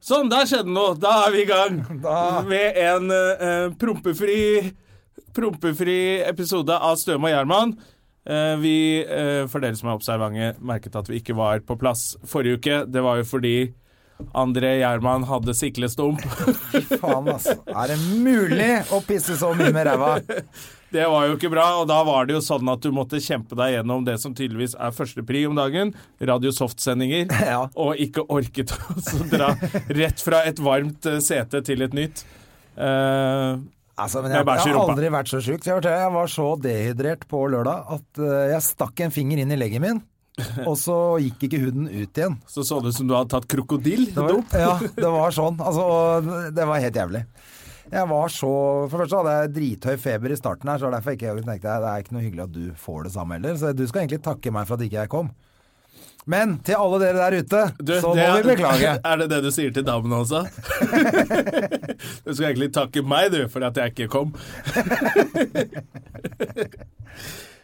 Sånn, der skjedde noe. Da er vi i gang med en eh, prompefri, prompefri episode av Støme og Gjerman. Eh, vi, eh, for dere som er observante, merket at vi ikke var på plass forrige uke. Det var jo fordi André Gjerman hadde siklestump. Faen, altså. Er det mulig å pisse så mye med ræva? Det var jo ikke bra, og da var det jo sånn at du måtte kjempe deg gjennom det som tydeligvis er førstepri om dagen, Radio Soft-sendinger, Ja. og ikke orket å så dra rett fra et varmt eh, sete til et nytt. Eh, Altså, men Med jeg, bæsj i jeg har rumpa. aldri vært så sjuk. Jeg, forteller, jeg var så dehydrert på lørdag at eh, jeg stakk en finger inn i leggen min, og så gikk ikke huden ut igjen. så så det ut som du hadde tatt krokodille. Det var, ja, det var sånn. Altså, og det var helt jævlig. Jeg var så For det første hadde jeg drithøy feber i starten her, så det var derfor ikke jeg tenkte jeg, det er ikke noe hyggelig at du får det samme heller. Så du skal egentlig takke meg for at ikke jeg kom. Men til alle dere der ute, Du, så må det- vi beklage. Er det det du sier til damene også? du skal egentlig takke meg, du, for at jeg ikke kom.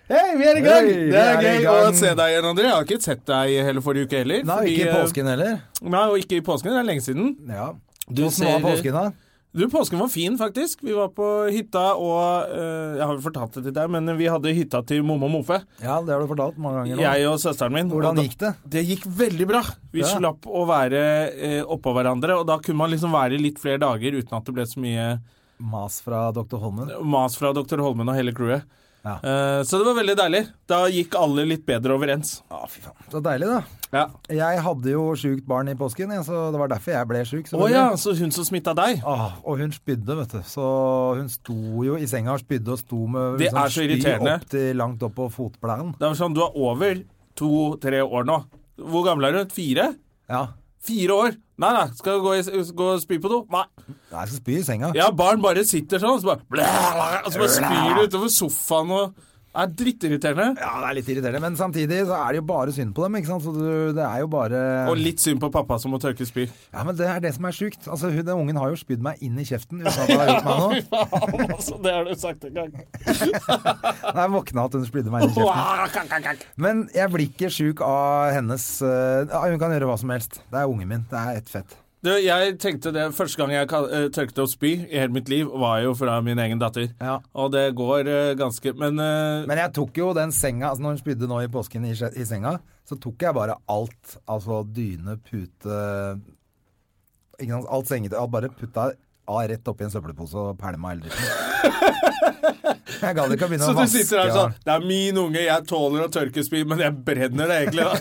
Hei, vi er i gang! Hei, vi det er, er i gøy gang. å se deg igjen, André. Jeg har ikke sett deg hele forrige uke heller. Nei, fordi, ikke i eh, påsken heller. Nei, og ikke i påsken. Det er lenge siden. Ja. Du eh, Åssen var påsken, da? Du, påsken var fin, faktisk. Vi var på hytta og eh, Jeg har vel fortalt det til deg, men vi hadde hytta til Momo og Mofe. Ja, det har du fortalt mange ganger. nå. Jeg og søsteren min. og Hvordan da- gikk det? Det gikk veldig bra. Vi Ja. slapp å være eh, oppå hverandre, og da kunne man liksom være litt flere dager uten at det ble så mye Mas fra Dr. Holmen. mas fra dr. Holmen og hele crewet. Ja. Eh, så det var veldig deilig. Da gikk alle litt bedre overens. Å, fy faen. Så deilig, da. Ja. Jeg hadde jo sjukt barn i påsken, jeg, så det var derfor jeg ble sjuk. Å ja, så hun som smitta deg. Ah, og hun spydde, vet du. Så hun sto jo i senga og spydde og sto med liksom Det er så irriterende. opp til langt opp på fotplanen. Det var sånn, Du er over to-tre år nå. Hvor gammel er du? Fire? Ja. Fire år? Nei, nei. Skal du gå, i, gå og spy på do? Nei. Nei, Jeg skal spy i senga. Ja, barn bare sitter sånn, og så bare, blæ, blæ, og så bare spyr de utover sofaen og er drittirriterende. Ja, det er litt irriterende, men samtidig så er det jo bare synd på dem, ikke sant. Så du, det er jo bare Og litt synd på pappa som må tørke spy. Ja, men det er det som er sjukt. Altså, hun, den ungen har jo spydd meg inn i kjeften uten at hun har gjort meg noe. faen, altså. Det har du sagt en gang. Nei, jeg våkna at hun spydde meg inn i kjeften. Men jeg blir ikke sjuk av hennes eh, ja, Hun kan gjøre hva som helst. Det er ungen min. Det er ett fett. Du, jeg tenkte det Første gang jeg kal- eh, tørket opp spy i hele mitt liv, var jo fra min egen datter. Ja. Og det går eh, ganske Men, eh, Men jeg tok jo den senga altså Når hun spydde nå i påsken i, skje- i senga, så tok jeg bare alt. Altså dyne, pute ikke sant? Alt sengetøy. Alt bare putta av rett oppi en søppelpose og pælma hele dritten. Jeg gadd ikke å begynne Så å du vaske. sitter der og- sånn Det er min unge, jeg tåler å tørke spy, men jeg brenner det egentlig, da.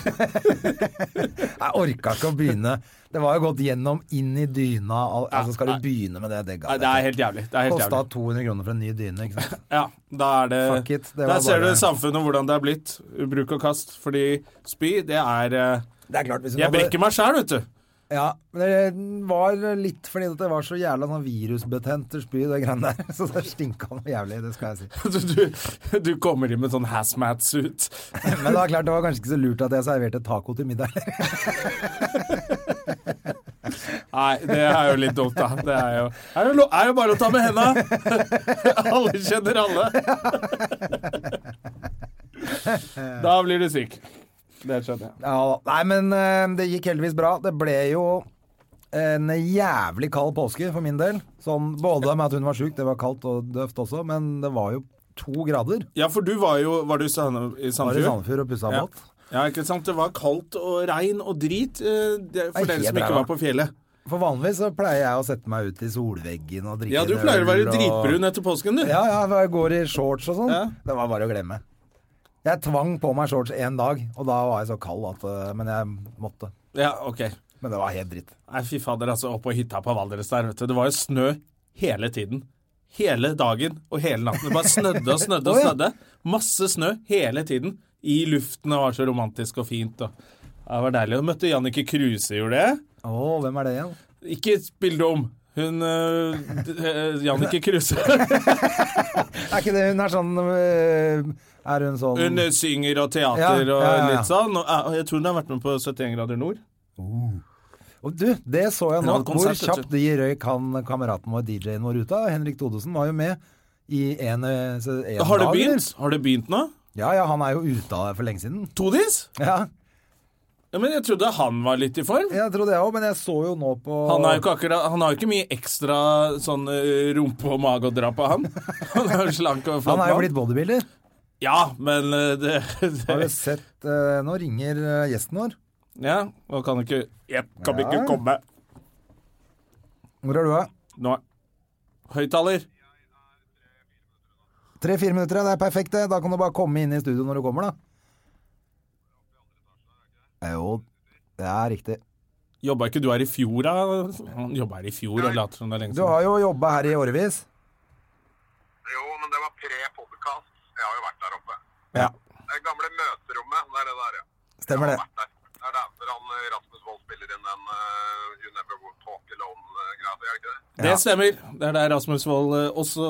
Jeg orka ikke å begynne. Det var jo gått gjennom, inn i dyna. al- Altså Skal du begynne med det? Det Nei, gadd det er jeg ikke. helt jævlig. Det er helt Kosta jævlig. 200 kroner for en ny dyne. ikke sant? Ja, da er det, Fuck it, det var Der ser bare- du samfunnet og hvordan det er blitt. Bruk og kast. Fordi spy, det er eh, Det er klart, hvis hun Jeg hadde- brekker meg sjæl, vet du. Ja, men det var litt fordi at det var så jævla sånn virusbetent spy, det greiene der. Så det stinka noe jævlig, det skal jeg si. Du, du, du kommer inn med sånn hazmat-suit. Men det var klart, det var kanskje ikke så lurt at jeg serverte taco til middag. Nei, det er jo litt dumt, da. Det er jo, er jo, lo- er jo bare å ta med henda. alle kjenner alle. da blir du syk. Det skjønner jeg. Ja, da. nei, men eh, det gikk heldigvis bra. Det ble jo en jævlig kald påske for min del. Sånn, både med at hun var sjuk, det var kaldt og døvt også, men det var jo to grader. Ja, for du var jo Var du i Sand- i Bare i Sandefjord? Sandefjord og pussa Ja. båt. ja, ikke sant. Det var kaldt og regn og drit eh, det, for Nei, dere som helt ikke ræva. var på fjellet. For vanligvis så pleier jeg å sette meg ut i solveggen og drikke Ja, du en pleier å være øl og- dritbrun etter påsken, du. Ja, ja, jeg går i shorts og sånn. Ja. Det var bare å glemme. Jeg tvang på meg shorts én dag, og da var jeg så kald at eh, Men jeg måtte. Ja, ok. Men det var helt dritt. Nei, fy fader, altså. Oppå hytta på Valdres der, vet du. Det var jo snø hele tiden. Hele dagen og hele natten. Det bare snødde og snødde og Å, ja. snødde. Masse snø hele tiden. I luften og var så romantisk og fint. Og. Ja, Det var deilig. Og møtte Jannicke Kruse, gjorde jeg. Å, hvem er det igjen? Ikke spill dum. Hun uh, Jannicke Kruse. Er ikke det hun er sånn øh, Er hun sånn Hun eh, synger og Ja, teater ja, og ja, ja. litt sånn. Og, eh, jeg tror hun har vært med på 71 grader nord. Og du, det så jeg Hun nå. hadde Hvor konsert, vet kjapt de røyk han kameraten vår, DJ-en vår, ut av. Henrik Thodesen var jo med i en, eh, så- en Har det dag, eller? begynt? Har det begynt nå? Ja, ja, han er jo ute av det for lenge siden. Todis? Ja, Ja, men jeg trodde han var litt i form. jeg trodde jeg òg, men jeg så jo nå på Han, er jo ikke akkurat, han har jo ikke mye ekstra sånn eh, rumpe og mage å dra på, han. Han er jo slank og Han flott. er jo mann. blitt bodybuilder. Ja, men eh, det, Har du det sett eh, Nå ringer eh, gjesten vår. Ja, og kan ikke Jeg kan ikke Ja. komme. Hvor er du, da? Nå Høyttaler. Tre-fire minutter, ja, det er perfekt. det. Da kan du bare komme inn i studio når du kommer, da. Ja, Jo, det er riktig. Jobba ikke du her i fjor, da? Han jobba her i fjor og later som det er lenge Du siden. har jo jobba her i årevis. Jo, men det var pre-podcast. Jeg har jo vært der oppe. Ja. Det gamle møterommet, det er det der, ja. Stemmer det. Vært der. Det er derfor han eh, Rasmus Wold spiller inn den eh, You Never Will Talk Alone-greia, er det ikke det? Det stemmer. Det er der Rasmus Wold eh, også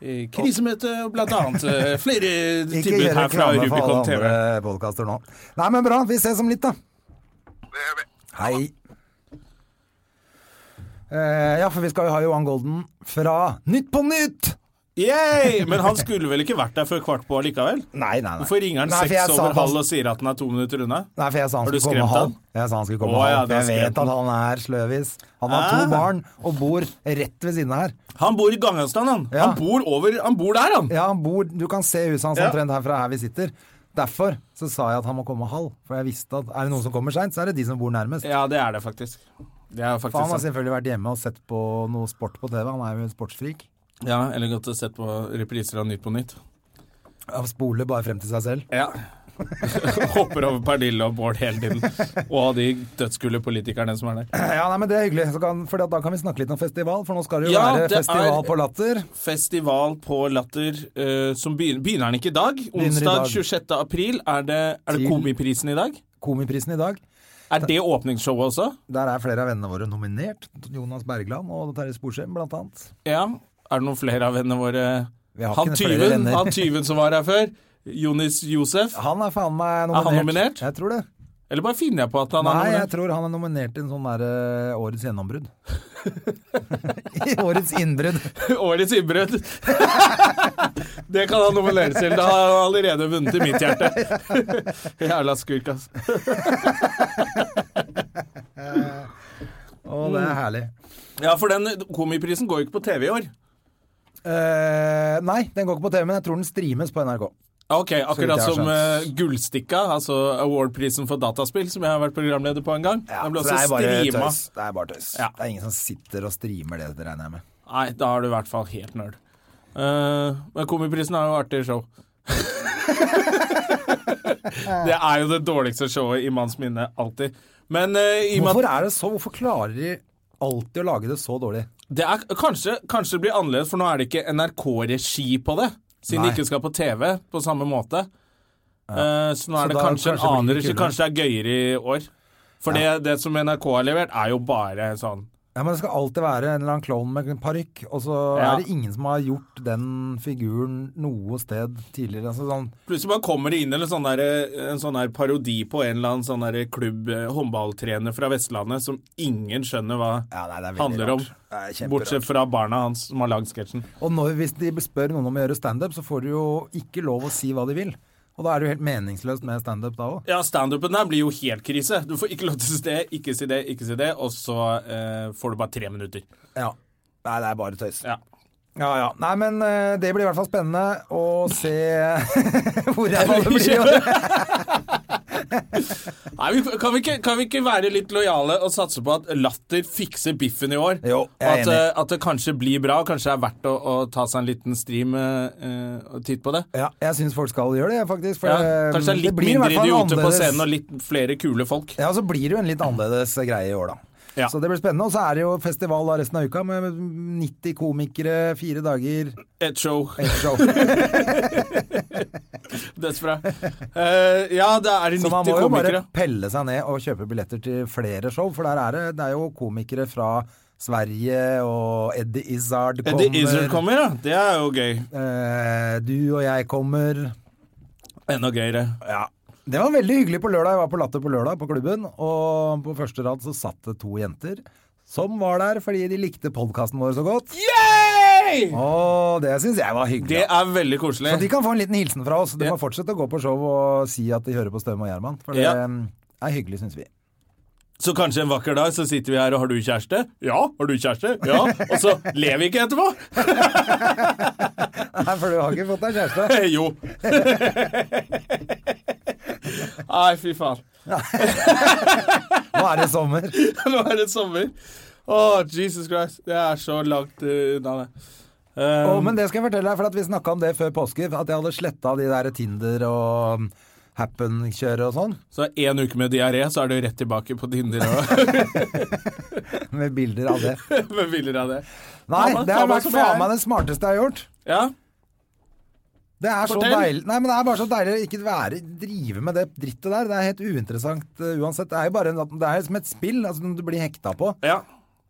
eh, Krisemøte og blant annet eh, flere Ikke tilbud gjør her fra reklame for alle Rubicon TV. andre podkaster nå. Nei, men bra. Vi ses om litt, da. Det er vi. Hei. Eh, ja, for vi skal jo ha Johan Golden fra Nytt på Nytt! Yay! Men han skulle vel ikke vært der før kvart på allikevel? Nei, nei, nei. Hvorfor ringer han Nei, for jeg seks sa over at han- halv og sier at han er to minutter unna? Nei, for jeg sa han Har du skulle komme skremt halv. han? Jeg sa han skulle komme Å, ja, halv. du har Jeg skremt vet han. at han er sløvis. Han har Ah. to barn og bor rett ved siden av her. Han bor i Gangenstrand, han. Ja. Han, bor over, han bor der, han. Ja, han bor, Du kan se huset hans Ja. omtrent herfra her vi sitter. Derfor så sa jeg at han må komme halv. For jeg visste at er det noen som kommer seint, så er det de som bor nærmest. Ja, det er det faktisk. Det er For faktisk han har sant. selvfølgelig vært hjemme og sett på noe sport på TV. Han er jo en sportsfrik. Ja, Eller godt å sett på repriser av Nytt på Nytt. Han spoler bare frem til seg selv. Ja. Hopper over Pernille og Bård hele tiden. Og de dødskulde politikerne som er der. Ja, nei, men Det er hyggelig, så kan, for da kan vi snakke litt om festival. For nå skal det jo Ja, være det er- festival på Latter. Festival på Latter, eh, som begynner, begynner den ikke i dag? i dag. Onsdag 26. april. Er det, er Til- det Komiprisen i dag? Komiprisen i dag. Er det åpningsshowet også? Der er flere av vennene våre nominert. Jonas Bergland og Terje Sporsem, blant annet. Ja. Er det noen flere av vennene våre Vi har Han ikke flere tyven, venner. han tyven som var her før. Jonis Josef. Han er faen meg nominert. han nominert? Jeg tror det. Eller bare finner jeg på at han Nei, er nominert? jeg tror han er nominert til en sånn der eh, Årets gjennombrudd. I årets innbrudd. Årets innbrudd. det kan han nominere til. Det har han allerede vunnet i mitt hjerte. Jævla skurk, ass. Å, det er herlig. Ja, for den komiprisen går jo ikke på TV i år. Eh, nei, den går ikke på TV, men jeg tror den streames på NRK. Ok, vidt jeg akkurat har som skjønt. eh, Gullstikka, altså awardprisen for dataspill, som jeg har vært programleder på en gang. den ble også så det er bare streama. tøys. Det er bare tøys. Ja. Det er ingen som sitter og streamer det, det regner jeg med. Nei, da er du i hvert fall helt nerd. Eh, men Komiprisen er jo artig show. det er jo det dårligste showet i manns minne, alltid. Men eh, i og med at Hvorfor er det så? Hvorfor klarer de alltid å lage det så dårlig? Det er, kanskje, kanskje det blir annerledes, for nå er det ikke NRK-regi på det. Siden Nei. det ikke skal på TV på samme måte. Eh, så nå Så er det da kanskje, kanskje en annen blir det regi. kulere. Kanskje det er gøyere i år. For det, det som NRK har levert, er jo bare sånn Ja, men Det skal alltid være en eller annen klovn med en parykk, og så Ja. er det ingen som har gjort den figuren noe sted tidligere. Altså, sånn, Plutselig bare kommer det inn en sånn, der, en sånn der parodi på en eller annen sånn der klubb eh, håndballtrener fra Vestlandet som ingen skjønner hva Ja, nei, det er veldig handler om. rart. Det er kjemperart. Bortsett fra barna hans som har lagd sketsjen. Og når, hvis de spør noen om å gjøre standup, så får de jo ikke lov å si hva de vil. Og da er det jo helt meningsløst med standup da òg. Ja, standupen der blir jo helt krise. Du får ikke lov til å si det, ikke si det, ikke si det, og så eh, får du bare tre minutter. Ja. Nei, det er bare tøys. Ja. Ja, ja. Nei, men eh, det blir i hvert fall spennende å se hvor ræva det blir. i år. Nei, vi, kan, vi ikke, kan vi ikke være litt lojale og satse på at latter fikser biffen i år? Jo, jeg er at, enig. eh, at det kanskje blir bra, og kanskje det er verdt å, å ta seg en liten stream eh, eh, og titt på det. Ja, jeg syns folk skal gjøre det, faktisk. For Ja, eh, kanskje det er det litt blir i hvert mindre fall idioter på annerledes. scenen og litt flere kule folk. Ja, så blir det jo en litt annerledes greie i år, da. Ja. Så det blir spennende. Og så er det jo festival da resten av uka med 90 komikere, fire dager, Et show. ett show. Dødsbra. Eh, ja, da er det Så 90 man må jo bare komikere. pelle seg ned og kjøpe billetter til flere show, for der er det, det er jo komikere fra Sverige, og Eddie Izzard kommer. Eddie Izzard Eh, kommer, ja. Det er jo gøy. Eh, du og jeg kommer. Enda gøyere. Det var veldig hyggelig på lørdag. Jeg var på Latter på lørdag på klubben, og på første rad så satt det to jenter som var der fordi de likte podkasten vår så godt. Yay! Og det syns jeg var hyggelig. Det er veldig koselig. Så de kan få en liten hilsen fra oss. De Ja. må fortsette å gå på show og si at de hører på Støm og Gjerman, for det Ja. er hyggelig, syns vi. Så kanskje en vakker dag så sitter vi her og har du kjæreste? Ja, har du kjæreste? Ja. Og så ler vi ikke etterpå? Nei, for du har ikke fått deg kjæreste. Eh, Jo. Nei, fy faen. Nå er det sommer. Nå er det sommer. Å, Jesus Christ. Det er så langt eh, unna, det. Eh, Å, men det skal jeg fortelle deg, for at vi snakka om det før påske. At jeg hadde sletta de der Tinder og Happen-kjøret og sånn. Så én uke med diaré, så er du rett tilbake på Tinder og Med bilder av det. med bilder av det. Nei, Ta meg- det ta har meg vært som jeg er. faen meg det smarteste jeg har gjort. Ja. Det er så Fortell. deilig Nei, men det er bare så deilig å ikke være, drive med det drittet der. Det er helt uinteressant eh, uansett. Det er jo bare en, det er som et spill altså, som du blir hekta på. Ja.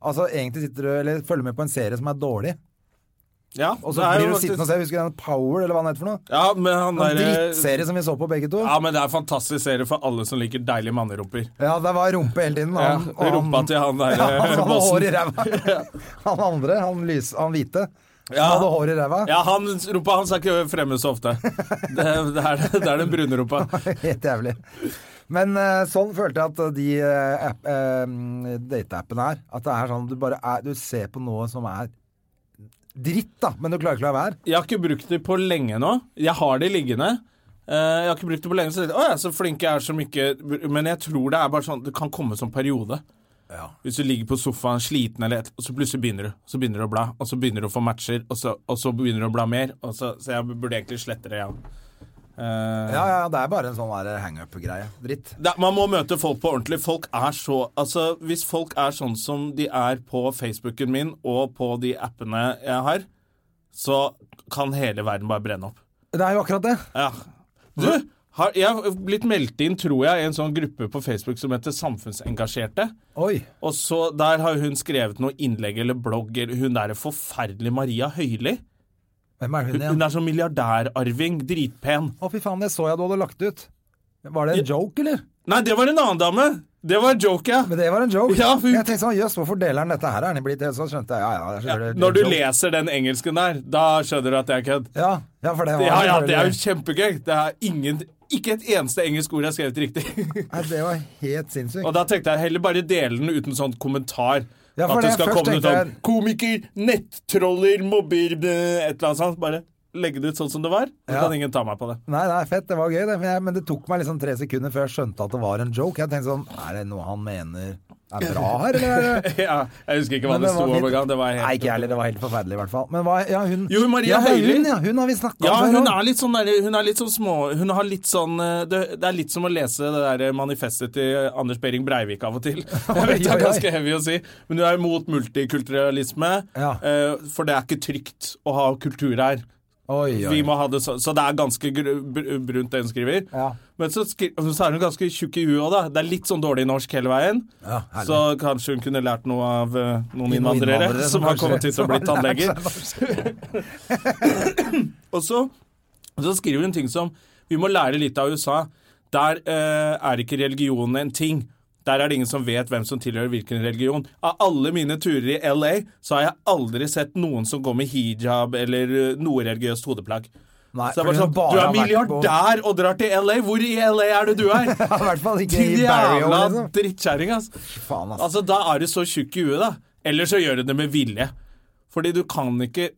Altså Egentlig sitter du eller følger med på en serie som er dårlig, ja. og det så er jo blir du faktisk- sittende og se. Husker du den Power, eller hva den heter for noe? Ja, men han En derre drittserie som vi så på begge to. Ja, men det er en fantastisk serie for alle som liker deilige mannerumper. Ja, det var rumpe hele tiden. og Ja, han- og han- rumpa til han eh, Ja, han derre hadde hår i ræva. Han andre, han, lys, han hvite, Ja. han hadde hår i ræva. Ja, han, rumpa hans er ikke fremme så ofte. Det, det, er, det er den brune rumpa. Helt jævlig. Men eh, sånn følte jeg at de eh, app- eh, dateappene er. At det er sånn du bare er, du ser på noe som er dritt, da, men du klarer ikke å la være. Jeg har ikke brukt det på lenge nå. Jeg har det liggende. Eh, Jeg har ikke brukt det på lenge, så jeg tenkte, «Å ja, så flink jeg er som ikke Men jeg tror det er bare sånn Det kan komme som periode. Hvis du ligger på sofaen sliten eller et, og så plutselig begynner du. Så begynner du å bla, og så begynner du å få matcher, og så, og så begynner du å bla mer. Og så, så jeg burde egentlig slette det, ja. Eh, Ja, ja, det er bare en sånn der hangup-greie. Dritt. det, man må møte folk på ordentlig. Folk er så Altså, hvis folk er sånn som de er på Facebooken min og på de appene jeg har, så kan hele verden bare brenne opp. Det er jo akkurat det. Ja. Du, har, jeg har blitt meldt inn, tror jeg, i en sånn gruppe på Facebook som heter Samfunnsengasjerte. Oi. Og så der har hun skrevet noe innlegg eller blogg eller Hun der er forferdelig Maria Høili. Hvem er hun Hun, igjen? er sånn milliardærarving. Dritpen. Å, fy faen, det så jeg du hadde lagt ut. Var det en joke, eller? Nei, det var en annen dame! Det var en joke, ja. Men det var en joke. Ja, for- Jeg tenkte sånn, jøss, hvorfor deler han dette her? Er han blitt det? Så skjønte jeg, ja, ja. det er selvfølgelig en Når du joke. leser den engelsken der, da skjønner du at det er kødd. Ja, ja, for det var Ja, ja, det er jo selvfølgelig- kjempegøy. Det er ingen, ikke et eneste engelsk ord jeg har skrevet riktig. Nei, det var helt sinnssykt. Og da tenkte jeg heller bare dele den uten sånn kommentar. Ja, for at det det skal først komme ut tenkte sånn jeg- komiker, nettroller, mobber, bæ, et eller annet sånt. Bare legge det ut sånn som det var, så Ja. kan ingen ta meg på det. Nei, nei, fett, det var gøy det, men, jeg, men det tok meg liksom tre sekunder før jeg skjønte at det var en joke. Jeg tenkte sånn, er det noe han mener er bra her, eller? er det- Ja, jeg husker ikke hva Men det sto om fint. engang. Det var Nei, ikke helt jeg heller, det var helt forferdelig i hvert fall. Men hva, ja, hun... Jo, Maria ja, det er Høili. Hun, ja, hun har vi snakket ja, om før. hun også. er litt sånn, der, hun er litt sånn små Hun har litt sånn eh, Det, det er litt som å lese det der eh, manifestet til Anders Behring Breivik av og til. Jeg vet det Oi, oi, er oi. ganske heavy å si, men hun er imot multikulturalisme. Ja. eh, For det er ikke trygt å ha kultur her. Oi, oi. Vi må ha det så, så det er ganske gru- br- brunt, det hun skriver. Ja. Men så, skri, så er hun ganske tjukk i huet òg, da. Det er litt sånn dårlig norsk hele veien. Ja, herlig. så kanskje hun kunne lært noe av eh, noen Noen innvandrere, innvandrere som som har kanskje- kommet hit og som blitt har lært tannleger. seg og så, så skriver hun ting som Vi må lære litt av USA. Der eh, er ikke religionen en ting. Der er det ingen som vet hvem som tilhører hvilken religion. Av alle mine turer i LA så har jeg aldri sett noen som går med hijab eller eh, noe religiøst hodeplagg. Nei, så det er fordi bare sånn, hun bare Du har er vært på- milliardær og drar til LA! Hvor i LA er det du er? Ja, i hvert fall ikke Din i Barrio, jævla liksom. drittkjerring, ass. Faen, ass. Altså, da er du så tjukk i huet, da. Eller så gjør du det med vilje. Fordi du kan ikke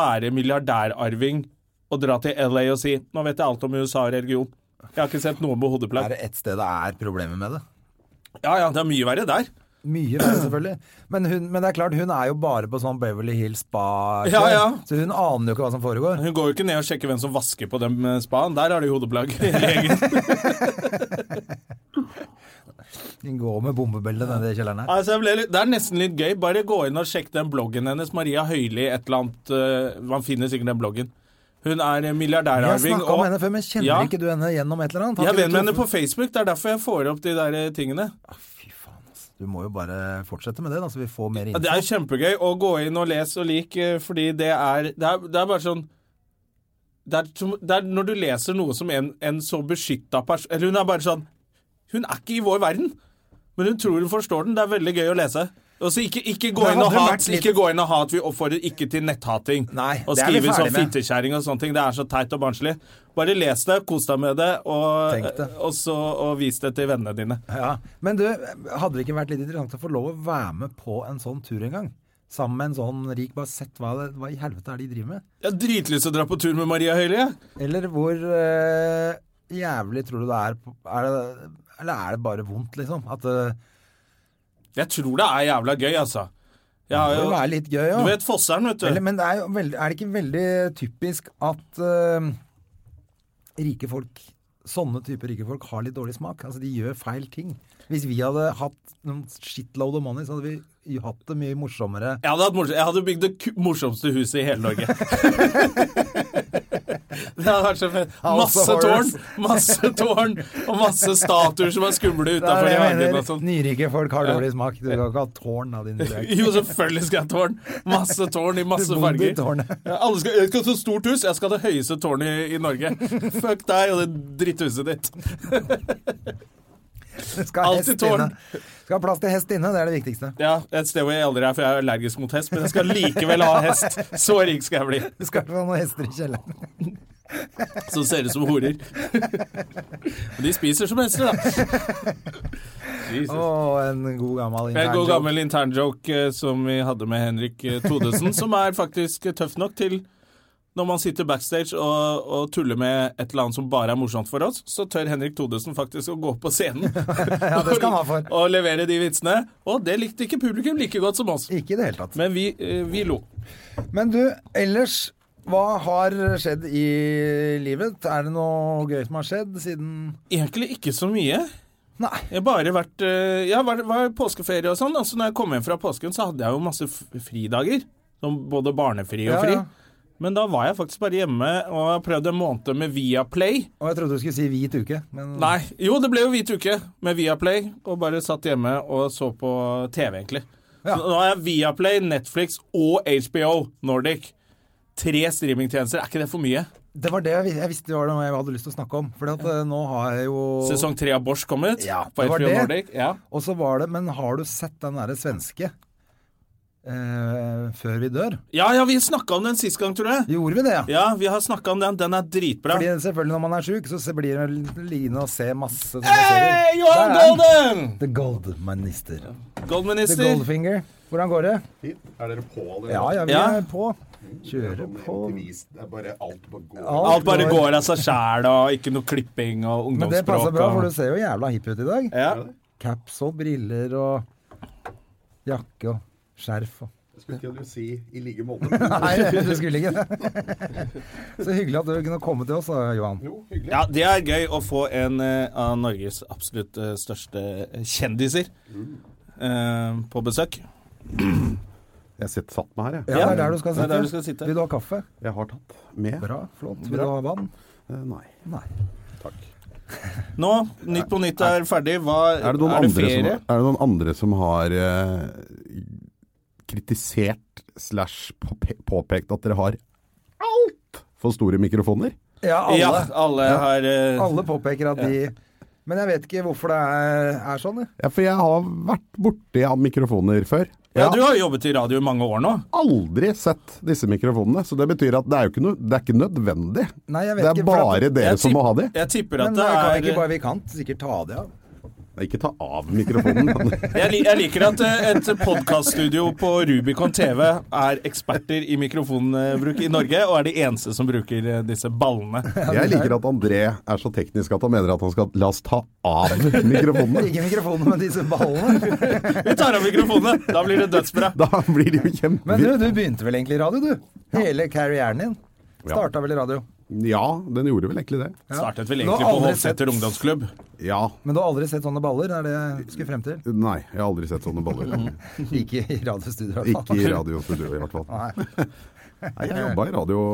være milliardærarving og dra til LA og si 'Nå vet jeg alt om USA og religion'. Jeg har ikke sett noen med Er hodeplagg. det et sted det er problemer med det? Ja ja, det er mye verre der. Mye verre, selvfølgelig. Men, hun, men det er klart, hun er jo bare på sånn Beverly Hills spa Ja, ja. Så hun aner jo ikke hva som foregår. Hun går jo ikke ned og sjekker hvem som vasker på den eh, spaen. Der har de hodeplagg. Legen. Hun går med bombebellet nede i kjelleren her. altså, jeg ble litt, det er nesten litt gøy. Bare gå inn og sjekk den bloggen hennes. Maria Høili, et eller annet eh, Man finner sikkert den bloggen. Hun er Jeg har milliardærarving. snakka om og- henne før, men kjenner Ja. ikke du henne gjennom et eller annet? Har Jeg er ikke venn du med henne på truffet- Facebook, det er derfor jeg får opp de der eh, tingene. Fy faen, ass. Du må jo bare fortsette med det, da, så vi får mer Ja, info. Det er jo kjempegøy å gå inn og lese og like, eh, fordi det er Det er, det er bare sånn det er, som- det er når du leser noe som en, en så beskytta person Eller hun er bare sånn Hun er ikke i vår verden, men hun tror hun forstår den. Det er veldig gøy å lese. Og så ikke, ikke, gå Det inn og hadde hat, vært litt- ikke gå inn og hat. Vi oppfordrer ikke til netthating. Nei, og det er vi skrive sånn ferdig med. fittekjerring og sånne ting. Det er så teit og barnslig. Bare les det, kos deg med det, og, Tenk det. og, så, og vis det til vennene dine. Ja. Men du, hadde det ikke vært litt interessant å få lov å være med på en sånn tur en gang? Sammen med en sånn rik, bare sett hva, det, hva i helvete er de driver med? Jeg har dritlyst til å dra på tur med Maria Høili, jeg. Eller hvor eh, jævlig tror du det er, på- er det, Eller er det bare vondt, liksom? At eh, Jeg tror det er jævla gøy, altså. Jeg har det må jo, være litt gøy, ja. du vet Fosseren, vet du. Eller, men det er, jo veldig, er det ikke veldig typisk at eh, rike folk Sånne typer rike folk har litt dårlig smak. Altså, de gjør feil ting. Hvis vi hadde hatt noen shitload of money, så hadde vi hatt det mye morsommere. jeg, hadde hatt morsom, jeg hadde bygd det ku- morsomste huset i hele Norge. det hadde vært så fett. House of Masse tårn, Horrors. masse tårn, og masse statuer som er skumle Det er utafor det jeg hagen mener. og sånn. Nyrike folk har dårlig smak. Du kan ikke ha tårn av din lille Jo, selvfølgelig skal jeg ha tårn. Masse tårn i masse Du bodde i farger. tårnet. Ja, alle skal, jeg skal ha så stort hus, jeg skal ha det høyeste tårnet i, i Norge. Fuck deg og det dritthuset ditt. Det Skal ha Alltid hest tårn. inne. Skal ha plass til hest inne, det er det viktigste. Ja, Et sted hvor jeg aldri er, for jeg er allergisk mot hest, men jeg skal likevel ha hest. Så rik skal jeg bli. Du skal ikke ha noen hester i kjelleren. som ser ut som horer. Og de spiser som hester, da. Jesus. Å, en god gammel En god internjoke. gammel internjoke eh, som vi hadde med Henrik eh, Thodesen, som er faktisk eh, tøff nok til når man sitter backstage og, og tuller med et eller annet som bare er morsomt for oss, så tør Henrik Thodesen faktisk å gå på scenen Ja, det skal han ha for. og levere de vitsene. Og det likte ikke publikum like godt som oss. Ikke i det hele tatt. Men vi, eh, vi lo. Men du, ellers, hva har skjedd i livet? Er det noe gøy som har skjedd siden Egentlig ikke så mye. Nei. Jeg har bare vært eh, Jeg var, var påskeferie og sånn, og så når jeg kom hjem fra påsken, så hadde jeg jo masse f- fridager. Som både barnefri og Ja, fri. ja. Men da var jeg faktisk bare hjemme og har prøvd en måned med Viaplay. Og jeg trodde du skulle si hvit uke, men Nei, jo, det ble jo hvit uke med Viaplay, og bare satt hjemme og så på TV, egentlig. Ja. Så nå har jeg Viaplay, Netflix og HBO Nordic. Tre streamingtjenester, er ikke det for mye? det var det jeg, vis- jeg visste det var noe jeg hadde lyst til å snakke om. For at, eh, nå har jeg jo Sesong tre av Bosch kom ut Ja, på det var HBO det. Nordic. Ja. Og så var det Men har du sett den derre svenske eh, Før vi dør? ja, ja, vi snakka om den sist gang, tror jeg. Gjorde vi det, ja? Ja, vi har snakka om den. Den er dritbra. Fordi selvfølgelig når man er sjuk, så se- blir det lignende å se masse sånne Hei, serier. Johan Der er den. Golden! The Goldmanister. Goldminister. The Goldfinger. Hvordan går det? Er dere på allerede? Ja, ja, vi Ja. er på. Kjører på. Det er bare alt på går. Alt Alt bare går av seg sjæl, og ikke noe klipping og Men ungdomsspråk. det Eh. passer bra, for du og... ser jo jævla hipp ut i dag. ja. Caps og briller og jakke og skjerf og Jeg skulle til å si i like måte. men Nei, du skulle ikke det. Så hyggelig at du kunne komme til oss, da, Johan. Jo, hyggelig. ja, det er gøy å få en eh, av Norges absolutt eh, største kjendiser eh, på besøk. Jeg sitter satt meg her, jeg. Ja, det er der du skal Det er der du sitte. skal sitte. Vil du ha kaffe? Jeg har tatt med. Bra, flott. Vil Bra. du ha vann? Eh, Nei. Nei. Takk. Nå, Nytt på nytt er ferdig. Hva, Er det, noen andre som, ferie? er det noen andre som har eh, kritisert slash påpe- påpekt at dere har alt for store mikrofoner? Ja, alle. Ja, alle har eh, Alle påpeker at de Men jeg vet ikke hvorfor det er, er sånn. jeg. Ja, for jeg har vært borti av mikrofoner før. Jeg Ja, du har har jobbet i radio i mange år nå. aldri sett disse mikrofonene, så det betyr at det er jo ikke, noe, det er ikke nødvendig. Nei, jeg vet Det er ikke, for at- bare dere Jeg som må ha tipp- de. Jeg tipper at Men det kan vi det ikke er bare vi kan sikkert ta det av. Ikke ta av mikrofonen. Jeg, li jeg liker at eh, et podkaststudio på Rubicon TV er eksperter i mikrofonbruk i Norge, og er de eneste som bruker eh, disse ballene. Jeg liker at André er så teknisk at han mener at han skal la oss ta av mikrofonene. Ikke mikrofonen, men disse ballene. Vi tar av mikrofonene! Da blir det dødsbra. Da blir det jo Men du, kjempe... du begynte vel egentlig i radio, du? Hele karrieren din. Starta vel i radio. Ja, den gjorde vel egentlig det. Startet vel Nå har egentlig på aldri Hovseter ungdomsklubb. Ja. Men du har aldri sett sånne baller? Det er det jeg skulle frem til. Nei, jeg har aldri sett sånne baller. Ikke i radiostudio, i hvert Ikke fall. i radiostudio, i hvert fall. Nei. Nei, jeg jobba i radio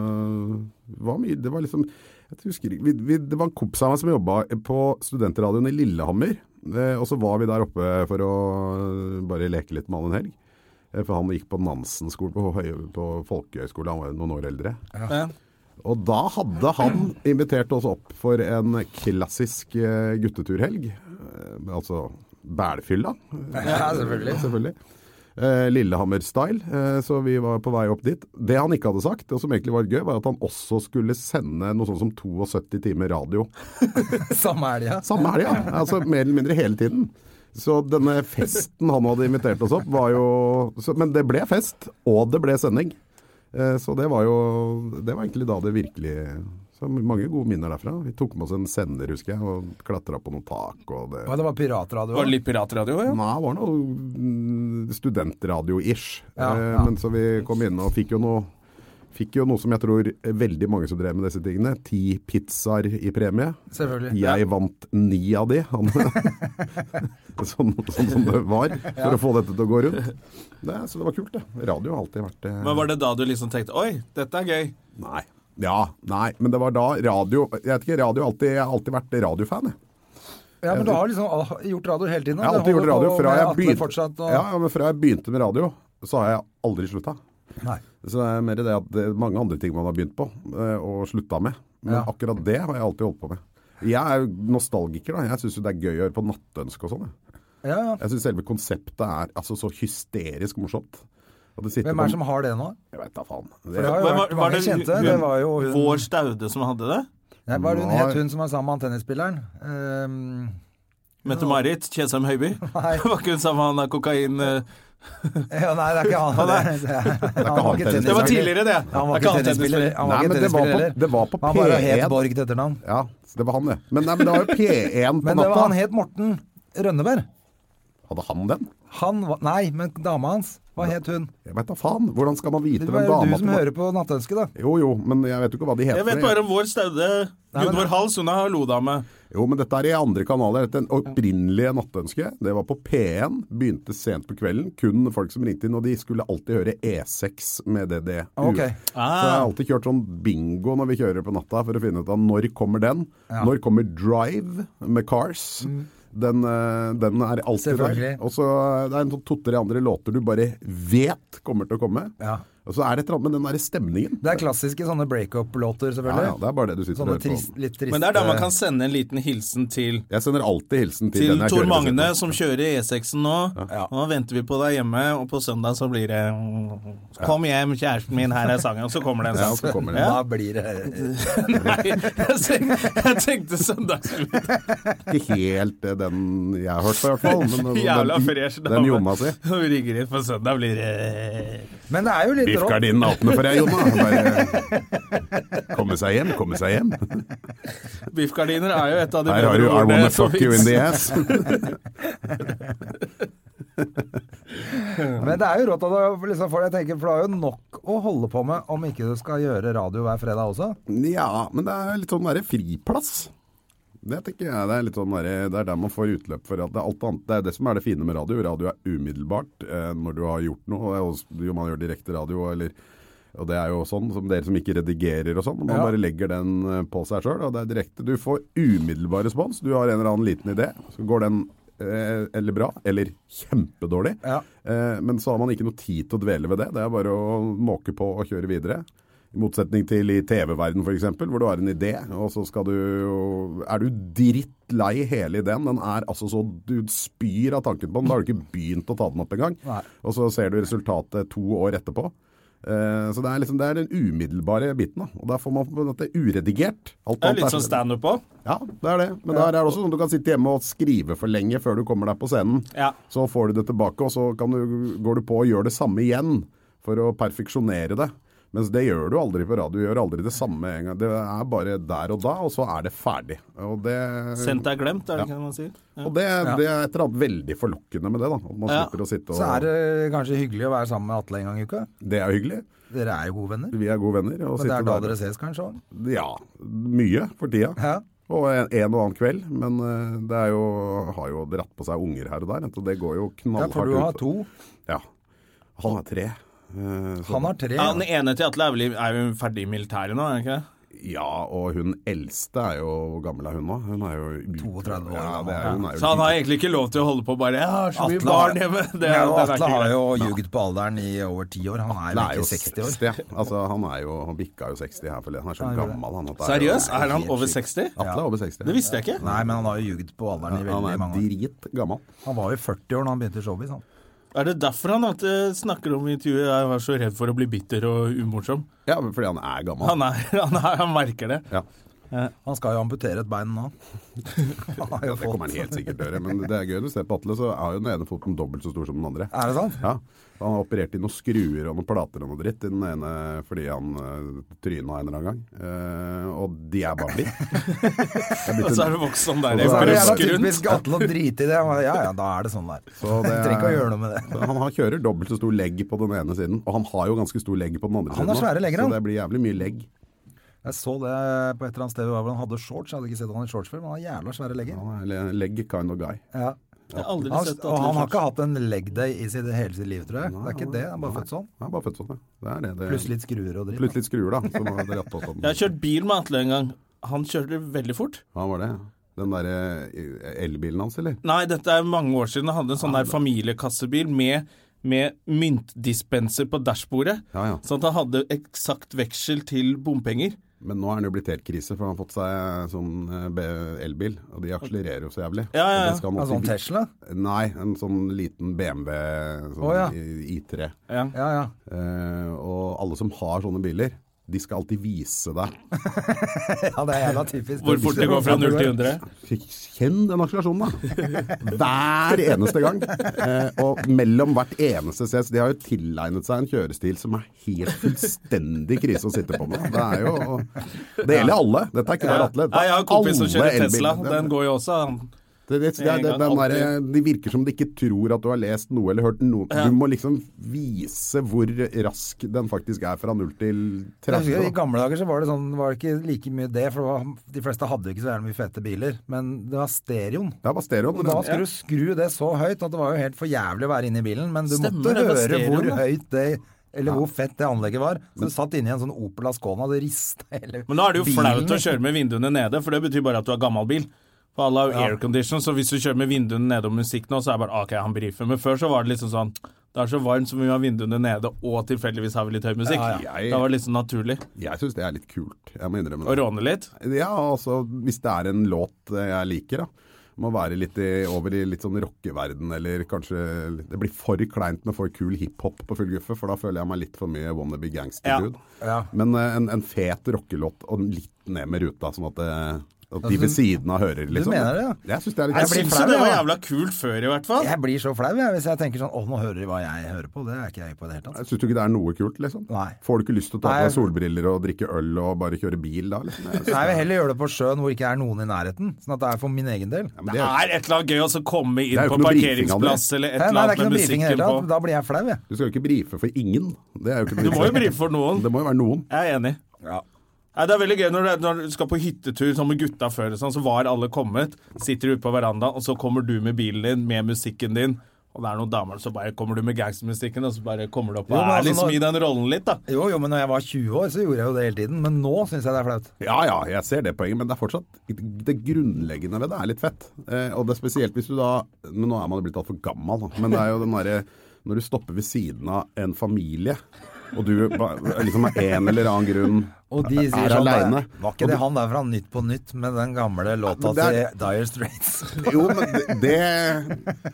øh, var mye, Det var liksom jeg husker, ikke- vi, vi, Det var en kompis av meg som jobba på studentradioen i Lillehammer. eh, Og så var vi der oppe for å øh, bare leke litt med han en helg. Eh, For han gikk på Nansen-skolen på, Høy- på folkehøyskole, han var jo noen år eldre. Ja. Og da hadde han invitert oss opp for en klassisk eh, gutteturhelg. Eh, Altså bælfylla. Ja, selvfølgelig. Eh, Lillehammer-style. Eh, Så vi var på vei opp dit. Det han ikke hadde sagt, og som egentlig var gøy, var at han også skulle sende noe sånt som 72 timer radio. Samme helga. Samme helg, ja. Altså mer eller mindre hele tiden. Så denne festen han hadde invitert oss opp, var jo så, Men det ble fest, og det ble sending. Eh, Så det var jo Det var egentlig da det virkelig Så mange gode minner derfra. Vi tok med oss en sender, husker jeg, og klatra på noen tak og det Og det var piratradio. Var det litt piratradio, ja? Nei, det var noe mm, studentradio-ish. Ja, Eh, ja. Men så vi kom inn og fikk jo noe Fikk jo noe som jeg tror veldig mange som drev med disse tingene. Ti pizzaer i premie. Selvfølgelig. Jeg vant ni av de, han, sånn, sånn som det var, for å få dette til å gå rundt. Det, så det var kult, det. Radio har alltid vært eh, Men var det da du liksom tenkte Oi, dette er gøy. Nei. Ja, nei, men det var da radio Jeg vet ikke, radio har alltid, jeg har alltid vært radiofan, jeg. Ja, men du har liksom al- gjort radio hele tiden. Jeg har alltid gjort radio fra jeg, begynte, begynte. Og... ja, ja, men fra jeg begynte med radio, så har jeg aldri slutta. Nei. Så det er mer det at det er mange andre ting man har begynt på eh, og slutta med. Men Ja. akkurat det har jeg alltid holdt på med. Jeg er jo nostalgiker, da. Jeg syns jo det er gøy å høre på nattønske og sånn. jeg. Ja, ja. Jeg syns selve konseptet er altså, så hysterisk morsomt. At det sitter Hvem er det på- som har det nå? Jeg vet da faen. For det har jo Men vært mange kjente. Det var jo hun Vår Staude som hadde det? Nei, Hva er det hun Nei. het, hun som var sammen med han tennisspilleren? Ehm, Mette-Marit Tjensheim Høiby? Nei. Var ikke hun sammen med han der kokain... eh, ja, nei, det er ikke han. Det, det, er, han han tennis- Det var tidligere, det. Han Det er var ikke ikke tennisspiller. Han var Nei, ikke men det var tennisspiller på, heller. det var på Han bare het P1. Borg til etternavn. Ja, så det var han, det. Men, nei, men det var jo P1 på Men det var, han natta. het Morten Rønneberg. Hadde han den? Han var Nei, men dama hans. Hva het hun? Jeg veit da faen. Hvordan skal man vite Det hvem var jo dama du som hører på Nattønsket, da. Jo jo, men jeg vet jo ikke hva de heter. Jeg vet bare om vår Staude men- Gunvor Hals, hun er hallo-dame. Jo, men dette er i andre kanaler. Dette opprinnelige nattønsket, det var på P1. Begynte sent på kvelden. Kun folk som ringte inn, og de skulle alltid høre E6 med DDU. Ah, Ok. Så jeg har Ah. alltid kjørt sånn bingo når vi kjører på natta, for å finne ut av når kommer den. Når kommer Drive med Cars. Den, eh, den er alltid der. Mm. Selvfølgelig. Og så er det er en sånn to-tre andre låter du bare vet kommer til å komme. Ja. Og så er det et eller annet med den derre stemningen. Det er klassiske sånne breakup-låter, Ja, selvfølgelig. ja, det er bare det du sitter og Sånne hører på. trist, litt triste Men det er da man kan sende en liten hilsen til Jeg sender alltid hilsen til, til den jeg Tor kjører ved siden Magne av. som kjører E6-en nå. Nå venter vi på deg hjemme, og på søndag så blir det Kom hjem, kjæresten min, her er sangen. Og så kommer det en Ja, sang. så kommer det. Da blir det Nei, jeg tenkte, jeg tenkte søndagsfri. Ikke helt eh, den jeg har hørt på, i hvert fall. Men den- Jævla den- fresh dame. Den Jonna si. Når vi ringer inn, for søndag blir det Men det er jo litt Biff rått. gardinen åpner for deg, Jonna. Bare komme seg hjem, komme seg hjem. Biffgardiner er jo et av de Her har du bedre I ordene wanna som fuck you in finnes. the ass. Men det er jo rått at du liksom får deg tenke, for du har jo nok å holde på med om ikke du skal gjøre radio hver fredag også. Ja, men det er litt sånn derre friplass. Det tenker jeg, det er litt sånn derre- det er der man får utløp for at det er alt annet. Det er det som er det fine med radio. Radio er umiddelbart eh, når du har gjort noe. og det er også- Jo, man gjør direkte radio, eller Og det er jo sånn som dere som ikke redigerer og sånn. Man Ja. bare legger den eh, på seg sjøl, og det er direkte. Du får umiddelbar respons. Du har en eller annen liten idé, så går den eh, eller bra, eller kjempedårlig. Ja. Eh, Men så har man ikke noe tid til å dvele ved det. Det er bare å måke på og kjøre videre. I motsetning til i TV-verden f.eks., hvor du har en idé, og så skal du Er du drittlei hele ideen? Den er altså så Du spyr av tanken på den. Da har du ikke begynt å ta den opp engang. Nei. Og så ser du resultatet to år etterpå. Eh, Så det er liksom det er den umiddelbare biten. da. Og der får man på en måte uredigert. Alt Det er annet litt sånn standup òg. Ja, det er det. Men der er det også sånn at du kan sitte hjemme og skrive for lenge før du kommer deg på scenen. Ja. Så får du det tilbake, og så kan du, går du på og gjør det samme igjen for å perfeksjonere det. Mens det gjør du aldri på radio. Du gjør aldri det samme en gang. Det er bare der og da, og så er det ferdig. Og det Sendt er glemt, er det Ja. ikke det man sier? Ja. Og det, det er et eller annet veldig forlokkende med det, da. At man Ja. slipper å sitte og Så er det kanskje hyggelig å være sammen med Atle en gang i uka. Det er hyggelig. Dere er jo gode venner. Vi er gode venner. Og Men det sitter er da der- dere ses, kanskje? også? Ja. Mye for tida. Ja. Og en, en og annen kveld. Men eh, det er jo, har jo dratt på seg unger her og der. Og det går jo Ja, knallhardt for du har ut. to. Ja. Han har tre. Eh, så- Han har tre. Ja, Den ene til Atle er vel i- er jo ferdig i militæret nå, er han ikke det? Ja, og hun eldste er jo Hvor gammel er hun nå? Hun er jo 32 år Ja, gammel. det er, hun er jo Så han har ikke- egentlig ikke lov til å holde på bare 'Jeg har så mye Atle har- barn hjemme'. Det, Ja, den og er Atle ikke har grei. jo ljuget på alderen i over ti år. Han er Nei, jo er jo ikke 60 år. 60, ja. altså, han er jo Han bikka jo 60 her forleden. Han er så gammel, han. at det er jo- Seriøst? Er han over 60? Atle er over 60. Det visste jeg ikke. Nei, men han har jo ljuget på alderen i Han veldig er mange år. dritgammel. Han var jo 40 år da han begynte i showbiz. Han. Er det derfor han alltid snakker om i intervjuet 'jeg var så redd for å bli bitter og umorsom'? Ja, men fordi han er gammel. Han, er, han, er, han merker det. Ja, han skal jo amputere et bein nå. Han har jo det kommer han fått. helt sikkert til å gjøre. Men det er gøy du ser på Atle, så er jo den ene foten dobbelt så stor som den andre. Er det sant? Ja, Han har operert i noen skruer og noen plater og noe dritt i den ene fordi han uh, tryna en eller annen gang. Eh, og de er bare blitt. Og så er det vokst sånn der. Og Så er det jævla Brusker rundt. typisk Atle å drite i det. Han bare, Ja ja, da er det sånn der. Så det er- Trenger ikke å gjøre noe med det. Så Han har, kjører dobbelt så stor legg på den ene siden, og han har jo ganske stor legg på den andre Han siden. har nå, svære legger, han. Så det blir jævlig mye legg. Jeg så det på et eller annet sted hvor han hadde shorts. Jeg hadde ikke sett han i shorts før, men han har jævla svære legger. Han er le- legg kind of guy. Ja. Jeg har aldri Han, sett og han har Atle ikke hatt en leg day i sitt, hele sitt liv, tror jeg. Det er ikke det, han er bare født sånn. Han er bare født sånn, ja. Det er det. det. Pluss litt skruer og dritt. Pluss litt skruer, da. Som var rett på sånn. Jeg har kjørt bil med Atle en gang. Han kjørte veldig fort. Ja, var det. Den derre eh, elbilen hans, eller? Nei, dette er mange år siden. Han hadde en sånn der familiekassebil med, med myntdispenser på dashbordet. Ja, ja. Sånn at han hadde eksakt veksel til bompenger. Men nå er han jo blitt helt krise, for han har fått seg sånn eh, B- elbil, og de akselererer jo så jævlig. Ja, ja, ja. Og det skal han Ja, også- sånn Tesla? Nei, en sånn liten BMW sånn Å, ja. i- i3. Ja. Ja ja. Eh, og alle som har sånne biler, de skal alltid vise deg. ja det er jævla typisk. Hvor fort det går fra 0 til 100. Kjenn den akselerasjonen, da! Hver eneste gang. Eh, og mellom hvert eneste ses. De har jo tilegnet seg en kjørestil som er helt fullstendig krise å sitte på med. Det er jo Det gjelder alle. Dette er ikke bare Atle. Nei, jeg har en kompis som Alle kjører Tesla. elbiler. Den går jo også. Han. Det, det, det, det, det, den der, de virker som de ikke tror at du har lest noe eller hørt noe. Du må liksom vise hvor rask den faktisk er fra 0 til Jeg husker 30. I da. gamle dager så var det sånn, var det ikke like mye det, for det var, de fleste hadde jo ikke så jævlig mye fete biler. Men det var stereoen. Det var stereoen. Og da skulle du skru det så høyt at det var jo helt for jævlig å være inne i bilen, men du Stemmer, måtte det var høre stereoen, hvor da. høyt det eller hvor fett det anlegget var. Så du satt inne i en sånn Opel Ascona, det rista hele Men nå er det jo bilen. liksom. flaut å kjøre med vinduene nede, for det betyr bare at du har gammel bil. For alle har jo aircondition, så hvis du kjører med vinduene nede og musikk nå, så er det bare OK, han brifer. Men før så var det liksom sånn Det er så varmt som vi har vinduene nede, og tilfeldigvis har vi litt høy musikk. ja. Jeg- Da var det liksom naturlig. Jeg syns det er litt kult. Jeg må innrømme det. Å råne litt. Ja, altså hvis det er en låt eh, jeg liker, da. Må være litt i, over i litt sånn rockeverden, eller kanskje Det blir for kleint med for kul hiphop på full guffe, for da føler jeg meg litt for mye wannabe gangster-dude. Ja. Men eh, en, en fet rockelåt og litt ned med ruta, sånn at, det, at de ved siden av hører, liksom. Altså, mener det, Jeg syns det er Jeg litt syns flau, jo det var jeg, da. jævla kult før, i hvert fall. Jeg blir så flau jeg, hvis jeg tenker sånn Å, nå hører de hva jeg hører på. Det er ikke jeg på i det hele tatt. Syns du ikke det er noe kult, liksom? Nei. Får du ikke lyst til å ta på Nei. deg solbriller og drikke øl og bare kjøre bil da, liksom? Jeg synes Nei, jeg vil heller gjøre det på sjøen hvor ikke er noen i nærheten. Sånn at det er for min egen del. Ja, men Det er et eller annet gøy å så komme Det inn er jo på ikke noe brifing av parkeringsplass eller et Nei, eller nei, det er annet ikke med noe brifing i musikken det hele på. tatt. Da blir jeg flau, jeg. Du skal jo ikke brife for ingen. Det er jo ikke Du må jo brife for noen. Det må jo være noen. Jeg er enig. Nei, det er veldig gøy når du, er- når du skal på hyttetur sånn med gutta før, og sånn, så var alle kommet, sitter ute på verandaen, og så kommer du med bilen din, med musikken din, og det er noen damer, så bare kommer du med gangstermusikken, og så bare kommer du opp og Jo, men er altså, liksom når- i den rollen litt, da. Jo, jo, men når jeg var 20 år, så gjorde jeg jo det hele tiden. Men nå syns jeg det er flaut. Ja ja, jeg ser det poenget, men det er fortsatt Det grunnleggende ved det er litt fett. Eh, og det er spesielt hvis du da Men nå er man jo blitt altfor gammel, da. Men det er jo den derre Når du stopper ved siden av en familie, og du ba- liksom av en eller annen grunn Og de Er sier sånn alene. det- Var ikke det han der fra Nytt på Nytt med den gamle men låta det er- til Dire Straits? Jo, men det-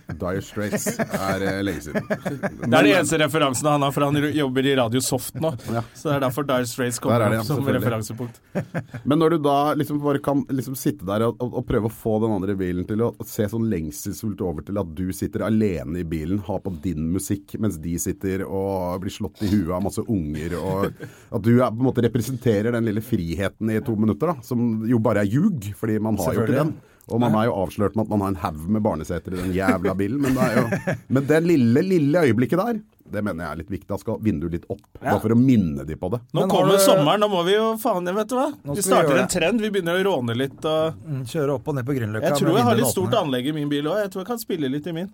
det Dire Straits er eh, lenge siden. Det er de eneste referansene han har, for han r- jobber i Radio Soft nå. Så det er derfor Dire Straits Der kommer er det, opp ja, som selvfølgelig. referansepunkt. Men når du da liksom bare kan liksom sitte der og, og, og prøve å få den andre bilen til å se sånn lengselsfullt over til at du sitter alene i bilen, har på din musikk, mens de sitter og blir slått i huet av masse unger, og at du er, på en måte representerer den lille friheten i to minutter, da, som jo bare er ljug, fordi man har jo ikke Selvfølgelig. den. Og man er jo avslørt med at man har en haug med barneseter i den jævla bilen, men det er jo Men det lille, lille øyeblikket der, det mener jeg er litt viktig. Da skal vinduet litt opp, bare for å minne de på det. Nå Men har kommer du- sommeren, da må vi jo faen vet du hva. Nå Vi skal vi starter en gjøre det. trend, vi begynner å råne litt. Og Kjøre opp og ned på Grünerløkka. jeg med tror jeg har vinduene litt stort åpne. anlegg i min bil òg, jeg tror jeg kan spille litt i min.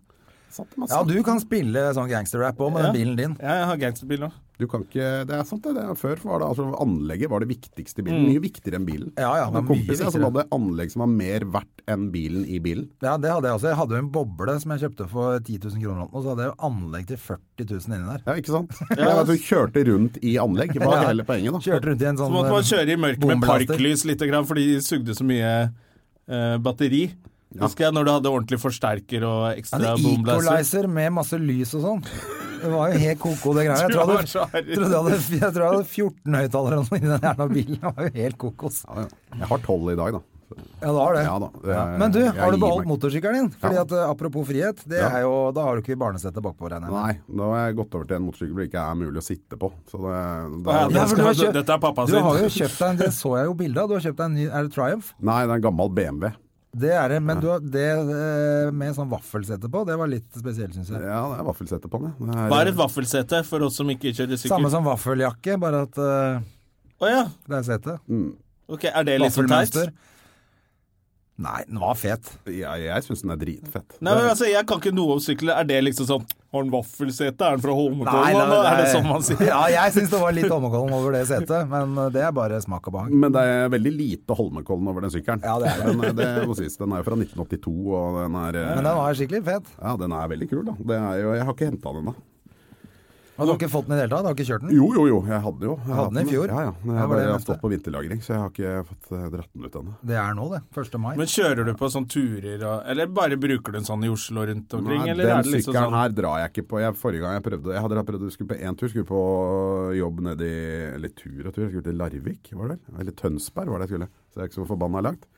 Sant, Mats? Ja, du kan spille sånn gangsterrap òg med den bilen din. Ja, jeg har gangsterbil nå. Du kan ikke, det er sant det. det er, før var det, altså, anlegget var det viktigste i bilen. Mye viktigere enn bilen. Mm. Jeg Ja, ja, det hadde var mye kompiser som viktigere. hadde anlegg som var mer verdt enn bilen i bilen. Ja, det hadde jeg også. Jeg hadde jo en boble som jeg kjøpte for 10 000 kroner, og så hadde jeg jo anlegg til 40 000 inni der. Ja, ikke sant? Det var at du kjørte rundt i anlegg, var hele poenget da. Kjørte rundt i en sånn Så måtte man kjøre i mørket med Bombelaster. parklys litt, grann, fordi de sugde så mye eh, batteri. Husker jeg når du hadde ordentlig forsterker og Ja, ekstra det boomblaster. Equalizer med masse lys og sånn. Det var jo helt koko, det greia. Jeg Det tror jeg var så hadde, herlig. trodde jeg hadde, jeg tror jeg hadde 14 høyttalere eller noe sånt i den jævla bilen. Det var jo helt kokos. Ja, ja. Jeg har tolv i dag, da. Ja, det var det. Ja da, det er- Men du, jeg har du gir beholdt meg. motorsykkelen din? Fordi Ja. at eh, Apropos frihet, det Ja. er jo, da har du ikke barnesete bakpå, regner jeg med. Nei, da har jeg gått over til en motorsykkel hvor det ikke er mulig å sitte på. Så det, det Ja, er, det Ja, for du har kjøpt- Dette er pappa Du sin. har jo kjøpt deg en, det så jeg jo bildet av, du har kjøpt deg en ny, er det Triumph? Nei, det er en gammel BMW. Det er det, men du har, det eh, med sånn vaffelsete på, det var litt spesielt, syns jeg. Ja, det er vaffelsete på den. ja. Det Hva er et vaffelsete for oss som ikke kjører Samme sykkel? som vaffeljakke, bare at eh, Å ja, det er sete. ok, er det litt sånn teit? Vaffelmønster. Nei, den var fet. Ja, jeg syns den er dritfett. Nei, men altså, Jeg kan ikke noe om sykler. Er det liksom sånn Har den vaffelsete? Er den fra Nei, Holmenkollen? Er det sånn man sier? Ja, jeg syns det var litt ommekollen over det setet, men eh, det er bare smak og behag. Men det er veldig lite Holmenkollen over den sykkelen. Ja, det er det. Men det må sies, den er jo fra 1982, og den er eh, Men den var skikkelig fet. Ja, den er veldig kul, da. Det er jo, jeg har ikke henta den, da. Og du har ikke fått den i det hele tatt? Du har ikke kjørt den? Jo, jo, jo, jeg hadde jo. Jeg Hadde den i fjor? Ja, ja. Jeg Ja, har var det bare jeg har stått mente. på vinterlagring, så jeg har ikke fått eh, dratt den ut ennå. Det er nå, det. 1. mai. Men kjører du på sånne turer og Eller bare bruker du en sånn i Oslo og rundt omkring? Nei, eller er den det liksom sykkelen sånn her drar jeg ikke på. Jeg, forrige gang jeg prøvde Jeg hadde prøvd å skulle på én tur, skulle på jobb nedi Eller tur og tur, jeg skulle til Larvik, var det vel? Eller Tønsberg var det jeg skulle. Så det er ikke så forbanna langt.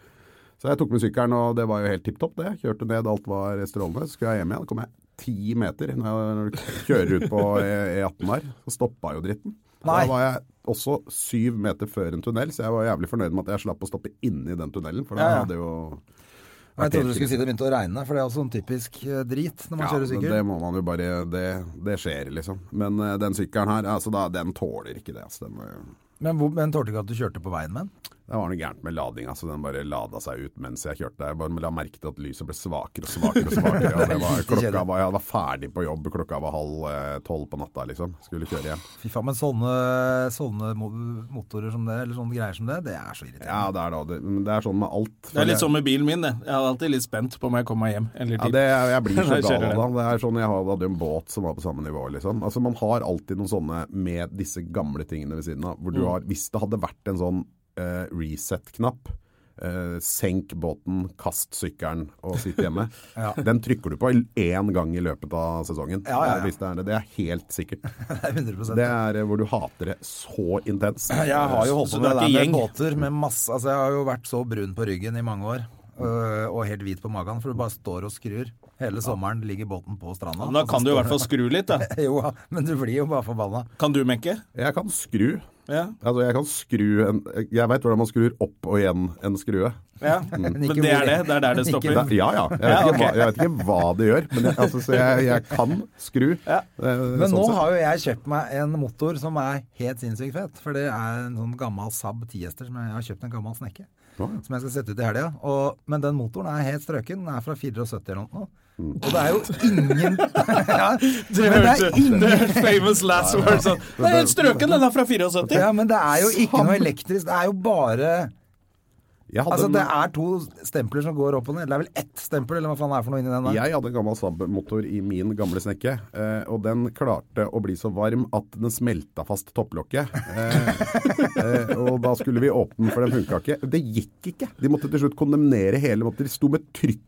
Så jeg tok med sykkelen, og det var jo helt tipp topp, det. Kjørte ned, alt var strålende. Så skulle jeg hjem igjen, kom jeg ti meter når, jeg, når du kjører ut på E- E18 her. Så stoppa jo dritten. Nei. Da var jeg også syv meter før en tunnel, så jeg var jævlig fornøyd med at jeg slapp å stoppe inni den tunnelen, for da Ja, ja. hadde jo Og jeg trodde du skulle si det begynte å regne, for det er også en typisk eh, drit når man ja, kjører men sykkel. det må man jo bare Det, det skjer, liksom. Men eh, den sykkelen her, altså, da, den tåler ikke det. Altså, den, eh, Men, hvor- men tålte ikke at du kjørte på veien med den? det var noe gærent med ladinga, så den bare lada seg ut mens jeg kjørte. Jeg bare la merke til at lyset ble svakere og svakere. og svakere og det var, klokka var, Jeg var ferdig på jobb, klokka var halv eh, tolv på natta, liksom. Skulle kjøre hjem. Fy faen, men sånne, sånne mo motorer som det, eller sånne greier som det, det er så irriterende. Ja, det er da det. Men det er sånn med alt. Det er litt For sånn med bilen min, det. Jeg er alltid litt spent på om jeg kommer meg hjem eller Ja, dit. det, jeg blir så Jeg gal kjører av det. Det er sånn, Jeg hadde jo en båt som var på samme nivå. liksom. Altså, Man har alltid noen sånne med disse gamle tingene ved siden av. hvor Mm. du har, Hvis det hadde vært en sånn eh, reset-knapp eh, Senk båten, kast sykkelen og sitt hjemme. Den trykker du på én gang i løpet av sesongen. eh, Ja, ja, ja. Hvis det, er det. det er helt sikkert. Det er 100 Det er eh, hvor du hater det så intenst. Jeg har jo holdt Så på det er med det der ikke med gjeng? båter med masse Altså, jeg har jo vært så brun på ryggen i mange år. øh, og helt hvit på magen, for du bare står og skrur. Hele sommeren ligger båten på stranda. Men da og så kan du i står hvert fall skru litt, da. Jo, ja, men du blir jo bare forbanna. Kan du mekke? Jeg kan skru. Ja. Altså, jeg kan skru en Jeg veit hvordan man skrur opp og igjen en skrue. ja. Men Men ikke det er hvor- det. Det er der det ikke- stopper. Det- Ja, ja. Jeg vet, Ja, ikke hva, ok. jeg vet ikke hva det gjør, men jeg, altså, så jeg, jeg kan skru. Eh, sånn Men sånn nå har jo jeg kjøpt meg en motor som er helt sinnssykt fet. For det er en sånn gammel Saab 10-hester som jeg jeg har kjøpt en gammel snekke. Som jeg skal sette ut i helga. Og- Men den motoren er helt strøken. Den er fra 74 eller noe. Og det er jo ingen ja, Det men det hørte er ingen det er famous last words. sånn. Det er helt strøken, den er fra 74. Ja, men det er jo ikke noe elektrisk. Det er jo bare Jeg hadde Altså, en- det er to stempler som går opp og ned. Det er vel ett stempel, eller hva faen det er for noe inni den der? Jeg hadde en gammel Saab-motor i min gamle snekke, eh, og den klarte å bli så varm at den smelta fast topplokket. Eh, eh, og da skulle vi åpne den, for den funka ikke. Det gikk ikke. De måtte til slutt kondemnere hele måten. De sto med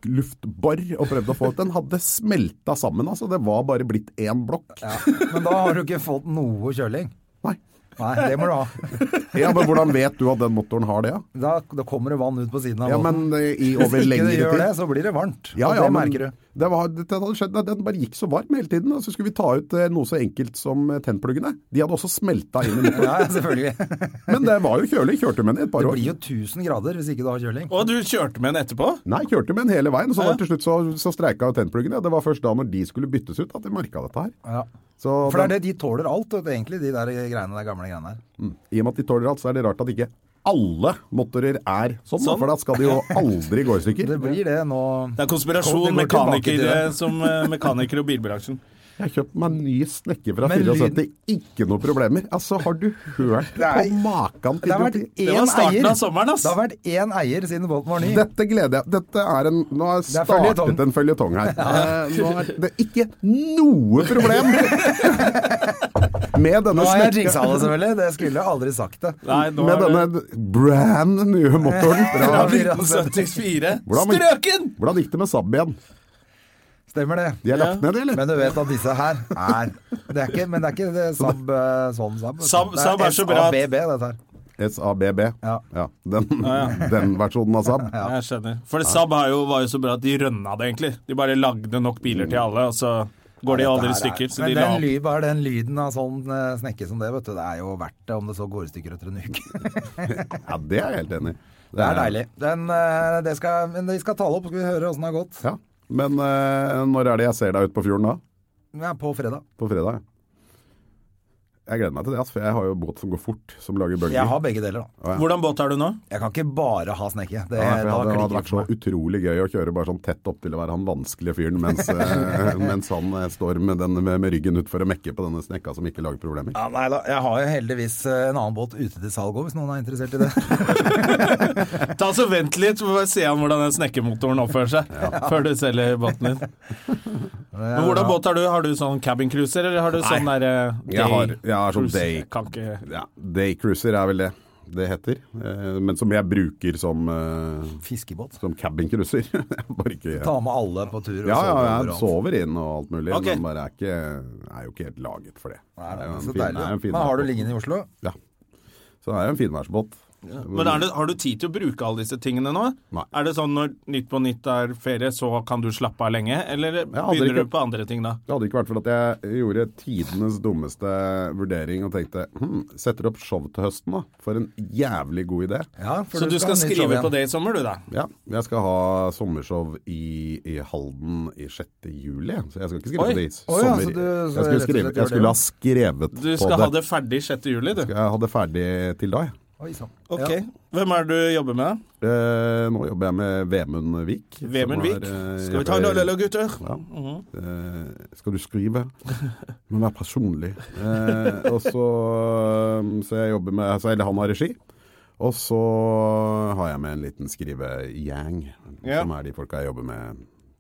trykkluftbor og prøvde å få ut. Den hadde smelta sammen, altså. Det var bare blitt én blokk. Men da har du ikke fått noe kjøling. Nei. Nei, det må du ha. Ja, men hvordan vet du at den motoren har det, da? Da, da kommer det vann ut på siden av Ja, båten. men eh, i over Hvis ikke lengre det gjør tid. det, så blir det varmt. Ja, og ja, det men merker du. Det var, det hadde skjedd, nei, den bare gikk så varm hele tiden. Og så skulle vi ta ut eh, noe så enkelt som eh, tennpluggene. De hadde også smelta inn i midten. Ja, selvfølgelig. Men det var jo kjølig. Kjørte med den i et par Det år. blir jo 1000 grader hvis ikke du har kjøling. Og du kjørte med den etterpå? Nei, kjørte med den hele veien. Så da til slutt så, så streika jo tennpluggene. og Det var først da når de skulle byttes ut at jeg merka dette her. Ja. Så For det er den- det, de tåler alt, vet du, egentlig, de der greiene, de gamle greiene her. Mm. I og med at de tåler alt, så er det rart at ikke alle motorer er sånn. da, For da skal de jo aldri gå i stykker. Det blir det nå Det er konspirasjon, Det går tilbake til mekaniker, det. som eh, mekaniker og bilbransjen. Jeg har kjøpt meg en ny snekke fra Men lyd- 74. Ikke noe problemer. Altså, har du hørt på makan til Det har vært idioti? én var starten eier. av sommeren, ass. Det har vært én eier siden båten var ny. Dette gleder jeg Dette er en Nå har jeg Det er startet føljetong. en føljetong her. Eh, Nå er det ikke noe problem med denne Nå har jeg snekka jinxa det, selvfølgelig. Det skulle jeg aldri sagt det. Nei, nå Med er det denne brand nye motoren. Ja, Fra, vi- altså. 1974. Hvordan- Strøken! hvordan gikk det med Saab igjen? Stemmer det. De er lagt ned, eller? Men du vet at disse her er Det er ikke, men det er ikke det Saab eh, sånn Saab. vet du. Saab- Saab er så bra at- Det er SABB, dette her. SABB. Ja. den, den versjonen av Saab. Jeg skjønner. For Saab har jo, var jo så bra at de rønna det, egentlig. De bare lagde nok biler til alle, og så går de aldri i stykker. Så de Men la den, opp. ly- bare den lyden av sånn eh, snekke som det, vet du, det er jo verdt det om det så går i stykker etter en uke. Ja, det er jeg helt enig i. Det er deilig. Den, eh, det skal, men vi skal tale opp, skal vi høre åssen det har gått. Ja. Men eh, når er det jeg ser deg ute på fjorden da? Ja, på fredag. På fredag? ja. Jeg gleder meg til det, ass, for jeg har jo båt som går fort, som lager bølger. Jeg har begge deler, da. Hvordan båt har du nå? Jeg kan ikke bare ha snekke. Det, Ja, for det da hadde- hadde klikker vært det for så meg. utrolig gøy å kjøre bare sånn tett opp til å være han vanskelige fyren, mens, eh, mens han eh, står med, den, med, med ryggen ut for å mekke på denne snekka som ikke lager problemer. Ja, nei da, jeg har jo heldigvis eh, en annen båt ute til salg òg, hvis noen er interessert i det. Ta så Vent litt, så får vi se an hvordan den snekkermotoren oppfører seg før du selger båten din. Men hvordan båt har du? Har du sånn cabin cruiser, eller har du sånn der eh, day Jeg har- jeg har sånn cruiser? day. Jeg Kan ikke Ja, Daycruiser er vel det det heter, eh, men som jeg bruker som, eh, Fiskebåt. som cabincruiser. bare ikke Ta med alle på tur. og ja, sove ja, jeg overalt. sover inn og alt mulig, Ok. men bare er, ikke, er jo ikke helt laget for det. Nei, Det det er jo er en så fin- det er en deilig. fin Men har du båt. liggende i Oslo? Ja. Så det er jo en finværsbåt. Men er det, har du tid til å bruke alle disse tingene nå? Nei. Er det sånn når Nytt på Nytt er ferie, så kan du slappe av lenge? Eller aldri begynner ikke. du på andre ting da? Det hadde ikke vært for at jeg gjorde tidenes dummeste vurdering og tenkte hm, setter opp show til høsten, da. For en jævlig god idé. Ja, for Så du skal ha nytt show skrive igjen. på det i sommer, du da? Ja, jeg skal ha sommershow i, i Halden i 6. juli, så jeg skal ikke skrive Oi. på det i Å sommer. ja, så du- så jeg, rett og skulle slett skrive, gjør jeg det, skulle ja. ha skrevet Du på skal ha det. det ferdig 6. juli, du. Jeg hadde ferdig til da. jeg. Oi, sånn. sann. Ok. Ja. Hvem er det du jobber med? da? Eh, nå jobber jeg med Vemund Vik. som Vemund Vik. er, eh, Skal vi ta en Mhm. øl, eller, gutter? Ja. Eh, skal du skrive? Du må være personlig. Eh, og så um, Så jeg jobber med altså, Eller han har regi. Og så har jeg med en liten skrivegjeng, Ja. som er de folka jeg jobber med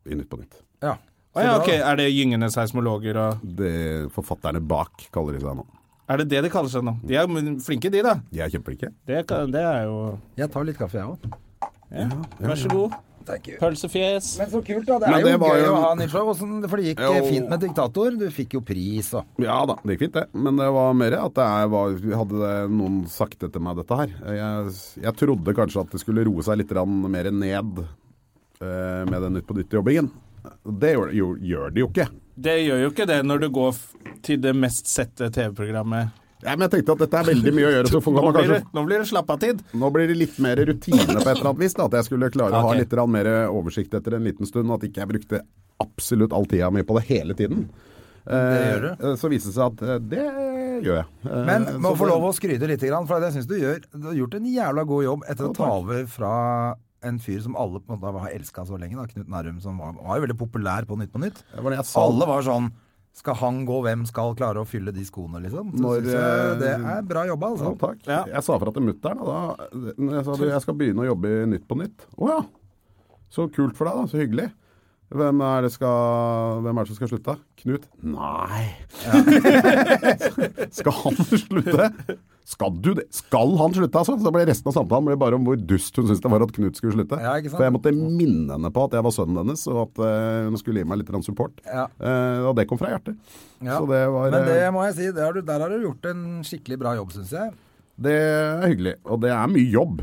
i Nytt på Nytt. Ja. Å ja, bra, ok. Er det gyngende seismologer og Det forfatterne bak kaller de seg nå. Er det det de kaller seg nå? De er jo flinke, de, da. De er kjempeflinke. Det, kan- det er jo Jeg tar litt kaffe, jeg òg. Vær så god. Pølsefjes. Men så kult, da. Det Men er det jo var gøy jo- å ha nytt show. Hvordan- For det gikk eh, Jo. Eh, fint med Diktator. Du fikk jo pris og Ja da, det gikk fint det. Men det var mer at det er- var, hadde det noen sagt det til meg, dette her. Jeg, jeg trodde kanskje at det skulle roe seg litt grann mer ned eh, med den Nytt på Nytt-jobbingen. Det gjør, gjør, gjør det jo ikke. Det gjør jo ikke det når du går f til det mest sette TV-programmet. Ja, men jeg tenkte at dette er veldig mye å gjøre, så får Nå man blir kanskje det, nå blir det slapp av-tid. Nå blir det litt mer rutine på et eller annet vis, da. At jeg skulle klare å ha Ok. litt grann mer oversikt etter en liten stund. At ikke jeg brukte absolutt all tida mi på det hele tiden. Det gjør Eh, Så viser det seg at eh, det gjør jeg. Eh, Men må så få det- lov å skryte litt, grann, for jeg syns du, gjør- du har gjort en jævla god jobb etter å ta over fra en fyr som alle på en måte har elska så lenge, da, Knut Nærum, som var, var jo veldig populær på Nytt på Nytt. Det var det jeg sa. Alle var sånn Skal han gå, hvem skal klare å fylle de skoene, liksom? Så Når, synes jeg det eh, er bra jobba, Ja, altså. takk. Ja. Jeg sa fra til mutter'n, og da når jeg sa du, jeg skal begynne å jobbe i Nytt på Nytt. Å ja! Så kult for deg, da. Så hyggelig. Hvem er, det skal, hvem er det som skal slutte? Knut? Nei. skal han slutte? Skal du det? Skal han slutte, altså? Så da ble resten av samtalen ble bare om hvor dust hun syntes det var at Knut skulle slutte. Ja, ikke sant? For jeg måtte minne henne på at jeg var sønnen hennes, og at eh, hun skulle gi meg litt grann support. Ja. Eh, og det kom fra hjertet. Ja. Så det var Men det eh, må jeg si, det har du, der har du gjort en skikkelig bra jobb, syns jeg. Det er hyggelig. Og det er mye jobb.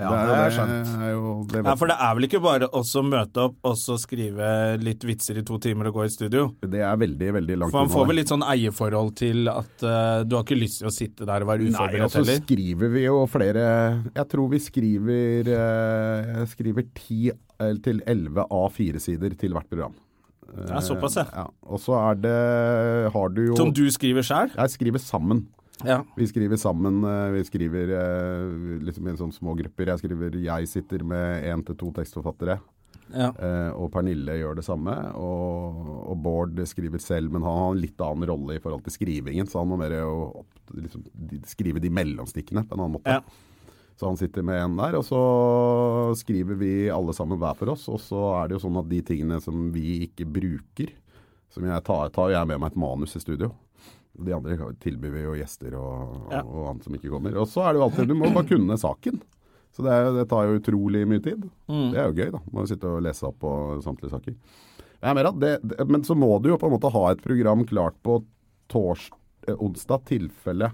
Ja, er det jo har jeg skjønt. det er jo, det Ja, for det er vel ikke bare oss å møte opp og så skrive litt vitser i to timer og gå i studio? det er veldig, veldig langt For man unna får det. vel litt sånn eierforhold til at eh, du har ikke lyst til å sitte der og være Nei, og uforberedt så heller. skriver vi jo flere Jeg tror vi skriver eh, Jeg skriver 10 til 11 A4-sider til hvert program. Eh, Ja, såpass, ja. Ja, og så er det Har du jo Som du skriver sjøl? Jeg skriver sammen. Ja. Vi skriver sammen. eh, Vi skriver eh, liksom i en sånn små grupper. Jeg skriver Jeg sitter med én til to tekstforfattere. Ja. Eh, og Pernille gjør det samme. Og, og Bård skriver selv, men han har en litt annen rolle i forhold til skrivingen. Så han må mer jo opp, liksom, de- skrive de mellomstikkene på en annen måte. Ja. Så han sitter med en der, og så skriver vi alle sammen hver for oss. Og så er det jo sånn at de tingene som vi ikke bruker, som jeg tar, tar jeg med meg et manus i studio. De andre tilbyr vi jo gjester og, Ja. og annet som ikke kommer. Og så er det jo alltid Du må bare kunne saken. Så det, er, jo- det tar jo utrolig mye tid. Det er jo gøy, da. Må jo sitte og lese opp på samtlige saker. Jeg er mer at det, det, men så må du jo på en måte ha et program klart på tors, eh, onsdag, tilfelle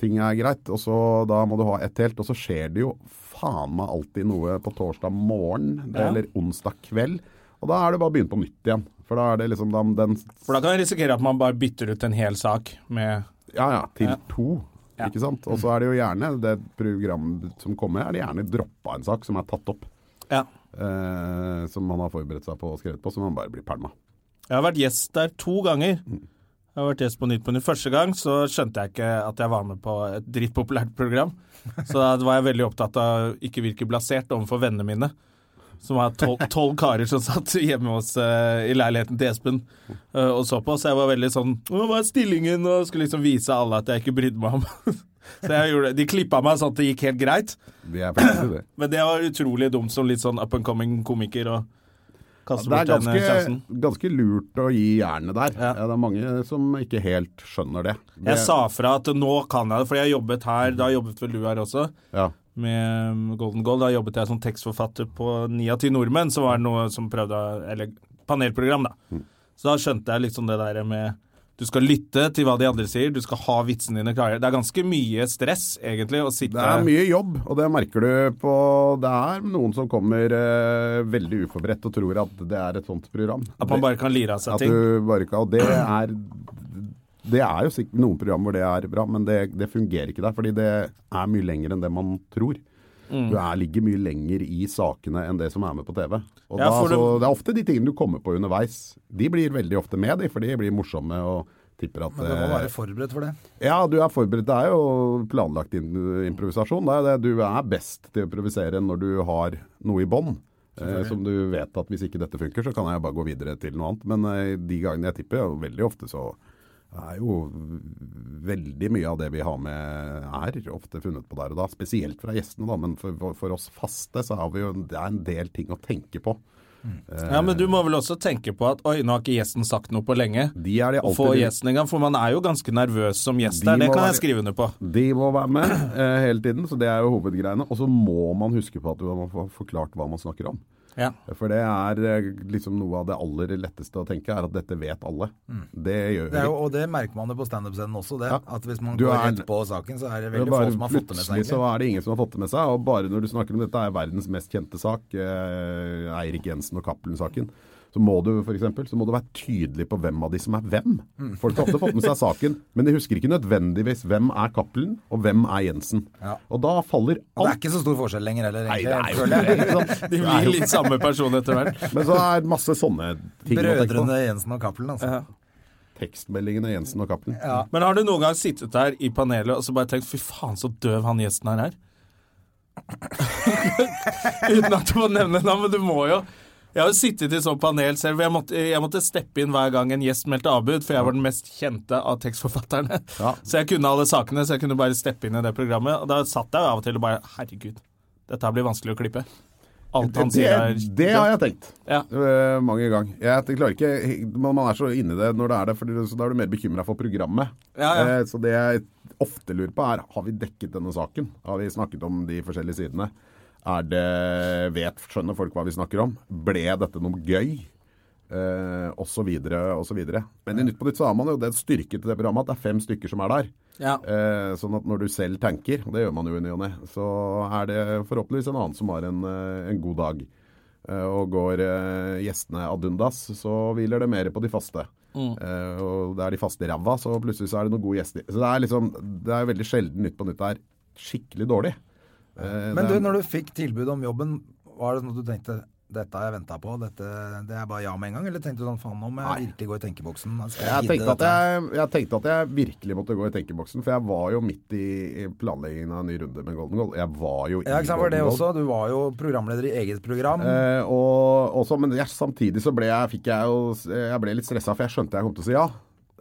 ting er greit. Og så da må du ha ett helt. Og så skjer det jo faen meg alltid noe på torsdag morgen Ja. eller onsdag kveld. Og da er det bare å begynne på nytt igjen. For da er det liksom da, den For da kan jeg risikere at man bare bytter ut en hel sak med Ja ja, til Ja. to. Ikke sant? Og så er det jo gjerne det programmet som kommer, er det gjerne droppa en sak som er tatt opp. Ja. Eh, som man har forberedt seg på og skrevet på, som man bare blir pælma. Jeg har vært gjest der to ganger. Mm. Jeg har vært gjest på Nytt på Nytt. Første gang så skjønte jeg ikke at jeg var med på et drittpopulært program. Så da var jeg veldig opptatt av å ikke virke blasert overfor vennene mine. Som var tol- tolv karer som satt hjemme hos, eh, i leiligheten til Espen eh, og så på. Så jeg var veldig sånn Å, hva er stillingen? Og skulle liksom vise alle at jeg ikke brydde meg om. så jeg gjorde, De klippa meg sånn at det gikk helt greit. Vi er faktisk i det. Men det var utrolig dumt som litt sånn up and coming komiker å kaste Det er bort den eh, ganske, sjansen. ganske lurt å gi jernet der. Ja. Ja, Det er mange som ikke helt skjønner det. det Jeg sa fra at nå kan jeg det, for jeg har jobbet her, da jobbet vel du her også, ja. med um, Golden Gold. Da jobbet jeg som tekstforfatter på ni av ti nordmenn, så var det noe som prøvde å- Eller panelprogram, da. Mm. Så da skjønte jeg liksom det der med du skal lytte til hva de andre sier, du skal ha vitsene dine klare. Det er ganske mye stress, egentlig, å sitte Det er mye jobb, og det merker du på Det er noen som kommer eh, veldig uforberedt og tror at det er et sånt program. At man bare kan lire av seg At ting. du bare kan, og det er det er jo sikkert noen program hvor det er bra, men det, det fungerer ikke der. Fordi det er mye lenger enn det man tror. Mm. Du er, ligger mye lenger i sakene enn det som er med på TV. Og Ja, da, for det- så, det er ofte de tingene du kommer på underveis. De blir veldig ofte med, de, for de blir morsomme og tipper at Men du må eh, være forberedt for det. ja, du er forberedt. Det er jo planlagt in improvisasjon. Det er jo det. Du er best til å improvisere når du har noe i bånn. Eh, som du vet at hvis ikke dette funker, så kan jeg bare gå videre til noe annet. Men eh, de gangene jeg tipper, og veldig ofte så er jo veldig mye av det vi har med her, ofte funnet på der og da. Spesielt fra gjestene, da. Men for, for oss faste så har vi jo Det er en del ting å tenke på. Ja, Men du må vel også tenke på at oi, nå har ikke gjesten sagt noe på lenge. De er de Å få Mm. alltid gjesten en gang, for man er jo ganske nervøs som gjest De der. Det må kan jeg være- skrive under på. De må være med eh, hele tiden, så det er jo hovedgreiene. Og så må man huske på at du må få forklart hva man snakker om. Ja. For det er eh, liksom noe av det aller letteste å tenke, er at dette vet alle. Det gjør Mm. det er jo, vi. og det merker man jo på standup-scenen også, det. Ja. At hvis man Du går er- rett på saken, så er Det det er veldig få Bare som har fått det med seg. plutselig så egentlig. er det ingen som har fått det med seg. Og bare når du snakker om dette er verdens mest kjente sak, eh, Eirik Jensen og Cappelen-saken, så må du for eksempel, så må du være tydelig på hvem av de som er hvem. Mm. Folk har ofte fått med seg saken, men de husker ikke nødvendigvis hvem er Cappelen og hvem er Jensen. Ja. Og da faller Og alt det er ikke så stor forskjell lenger heller, Nei, det er egentlig. jo det. ikke sant? De Det er blir jo- litt samme person etter hvert. Men så er det masse sånne ting å tenke på. Brødrene Jensen og Cappelen, altså. Tekstmeldingene Jensen og Cappelen. Men har du noen gang sittet der i panelet og så bare tenkt 'fy faen, så døv han gjesten her er'? Uten at du må nevne navn, men du må jo. Jeg har jo sittet i sånn panel selv. hvor Jeg måtte, jeg måtte steppe inn hver gang en gjest meldte avbud, for jeg var den mest kjente av tekstforfatterne. Ja. Så jeg kunne alle sakene, så jeg kunne bare steppe inn i det programmet. Og da satt jeg jo av og til og bare Herregud, dette her blir vanskelig å klippe. Alt han det, sier er det har jeg tenkt Ja. Eh, mange ganger. Jeg klarer ikke, man, man er så inne i det når det er det, for så da er du mer bekymra for programmet. Ja, ja. Eh, så det jeg ofte lurer på, er har vi dekket denne saken? Har vi snakket om de forskjellige sidene? Er det, vet, Skjønner folk hva vi snakker om? Ble dette noe gøy? Eh, og så videre, og så videre. Men i Nytt på Nytt så har man jo den styrken til det programmet at det er fem stykker som er der. Ja. Eh, sånn at når du selv tenker, og det gjør man jo i ny og ne, så er det forhåpentligvis en annen som har en, eh, en god dag. Eh, og går eh, gjestene ad undas, så hviler det mer på de faste. Eh, og det er de faste ræva, så plutselig så er det noen gode gjester. Så det er liksom, det er veldig sjelden Nytt på Nytt er skikkelig dårlig. Eh, Men det du, er- når du fikk tilbud om jobben, var det sånn at du tenkte dette har jeg venta på, dette, det er bare ja med en gang? Eller tenkte du sånn faen, nå må jeg virkelig gå i tenkeboksen? skal Jeg gidde tenkte, at dette her?» jeg, jeg tenkte at jeg virkelig måtte gå i tenkeboksen, for jeg var jo midt i i planleggingen av en ny runde med Golden Goal. Jeg var jo i Ja, ikke sant, var det Golden Goal. også? Du var jo programleder i eget program. Eh, og også, men jeg, samtidig så ble jeg, fikk jeg, jo, jeg ble litt stressa, for jeg skjønte jeg kom til å si ja.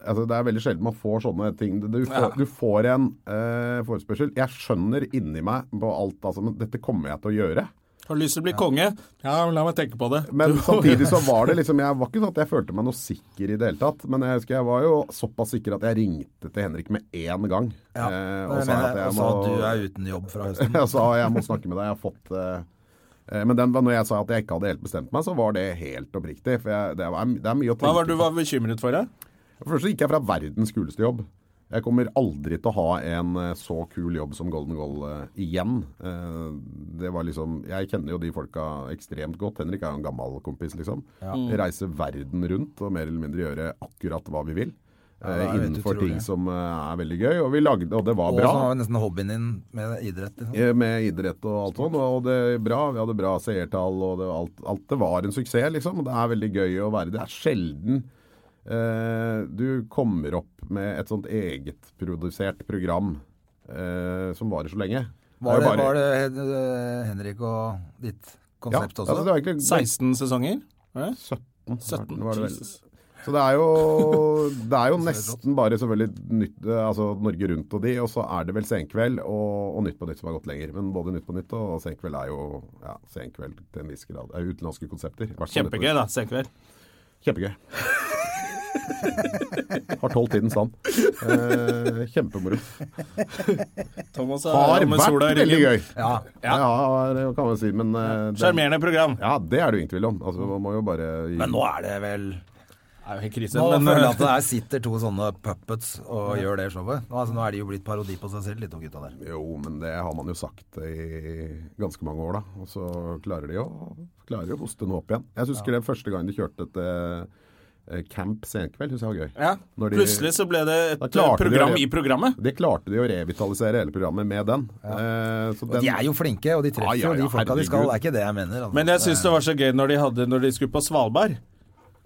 Altså, det er veldig sjelden man får sånne ting. Du får, du får en eh, forespørsel. Jeg skjønner inni meg på alt, altså, men dette kommer jeg til å gjøre. Har du lyst til å bli konge? Ja, men la meg tenke på det. Men samtidig så var det liksom Jeg var ikke sånn at jeg følte meg noe sikker i det hele tatt. Men jeg husker jeg var jo såpass sikker at jeg ringte til Henrik med én gang. ja. eh, og, sa at jeg og sa at du er uten jobb fra høsten. Jeg sa jeg må snakke med deg, jeg har fått eh, eh, Men den, når jeg sa at jeg ikke hadde helt bestemt meg, så var det helt oppriktig. For jeg, det, er, det er mye å tenke Hva var det du var bekymret for? da? på. For først så gikk jeg fra verdens kuleste jobb. Jeg kommer aldri til å ha en eh, så kul jobb som Golden Goal eh, igjen. Eh, det var liksom Jeg kjenner jo de folka ekstremt godt. Henrik er jo en gammel kompis, liksom. Vi Reise verden rundt og mer eller mindre gjøre akkurat hva vi vil. eh, det er helt innenfor ting utrolig. som eh, er veldig gøy. Og vi lagde, og det var Og bra. så var jo nesten hobbyen din med idrett. Liksom. Eh, med idrett og alt sånn, og det er bra, vi hadde bra seertall, og det, var alt, alt det var en suksess, liksom. og Det er veldig gøy å være Det er sjelden eh, du kommer opp med et sånt egetprodusert program eh, som varer så lenge. Var er det, jo bare- var det eh, Henrik og ditt ja, konsept ja, også? det var egentlig 16 sesonger? Var det? 17, 17, var det vel. Jesus. Så det er jo, det er jo nesten bare selvfølgelig nytt, eh, altså Norge Rundt og de, og så er det vel Senkveld og, og Nytt på Nytt som har gått lenger. Men både Nytt på Nytt og Senkveld er jo ja, Senkveld til en viss grad. Er jo utenlandske konsepter. i hvert fall Nytt på Kjempegøy, Nytt. da. Senkveld. Kjempegøy. Har tolv tidens stand. Eh, kjempemoro. Thomas Har med vært sola i veldig ryggen. gøy. Ja, det kan man si. Men eh, det, Sjarmerende program. ja, det er det jo ingen tvil om. Altså, man må jo bare gi- Men nå er det vel Det er jo helt krise. Nå føler jeg at Men, det her sitter to sånne puppets og gjør det showet. Nå, altså, nå er de jo blitt parodi på seg selv, de to gutta der. Jo, men det har man jo sagt i ganske mange år, da. Og så klarer de å, klarer de å hoste noe opp igjen. Jeg husker det første gangen de kjørte et eh, camp senkveld, husker jeg var gøy. ja. Når de- Plutselig så ble det et Da eh, klarte de program å- i programmet. Det klarte de å revitalisere hele programmet med den. Eh, så den De er jo flinke, og de treffer Ja, ja, jo ja, de folka de skal. herregud. Det er ikke det jeg mener. altså. Men jeg syns det var så gøy når de, hadde, når de skulle på Svalbard.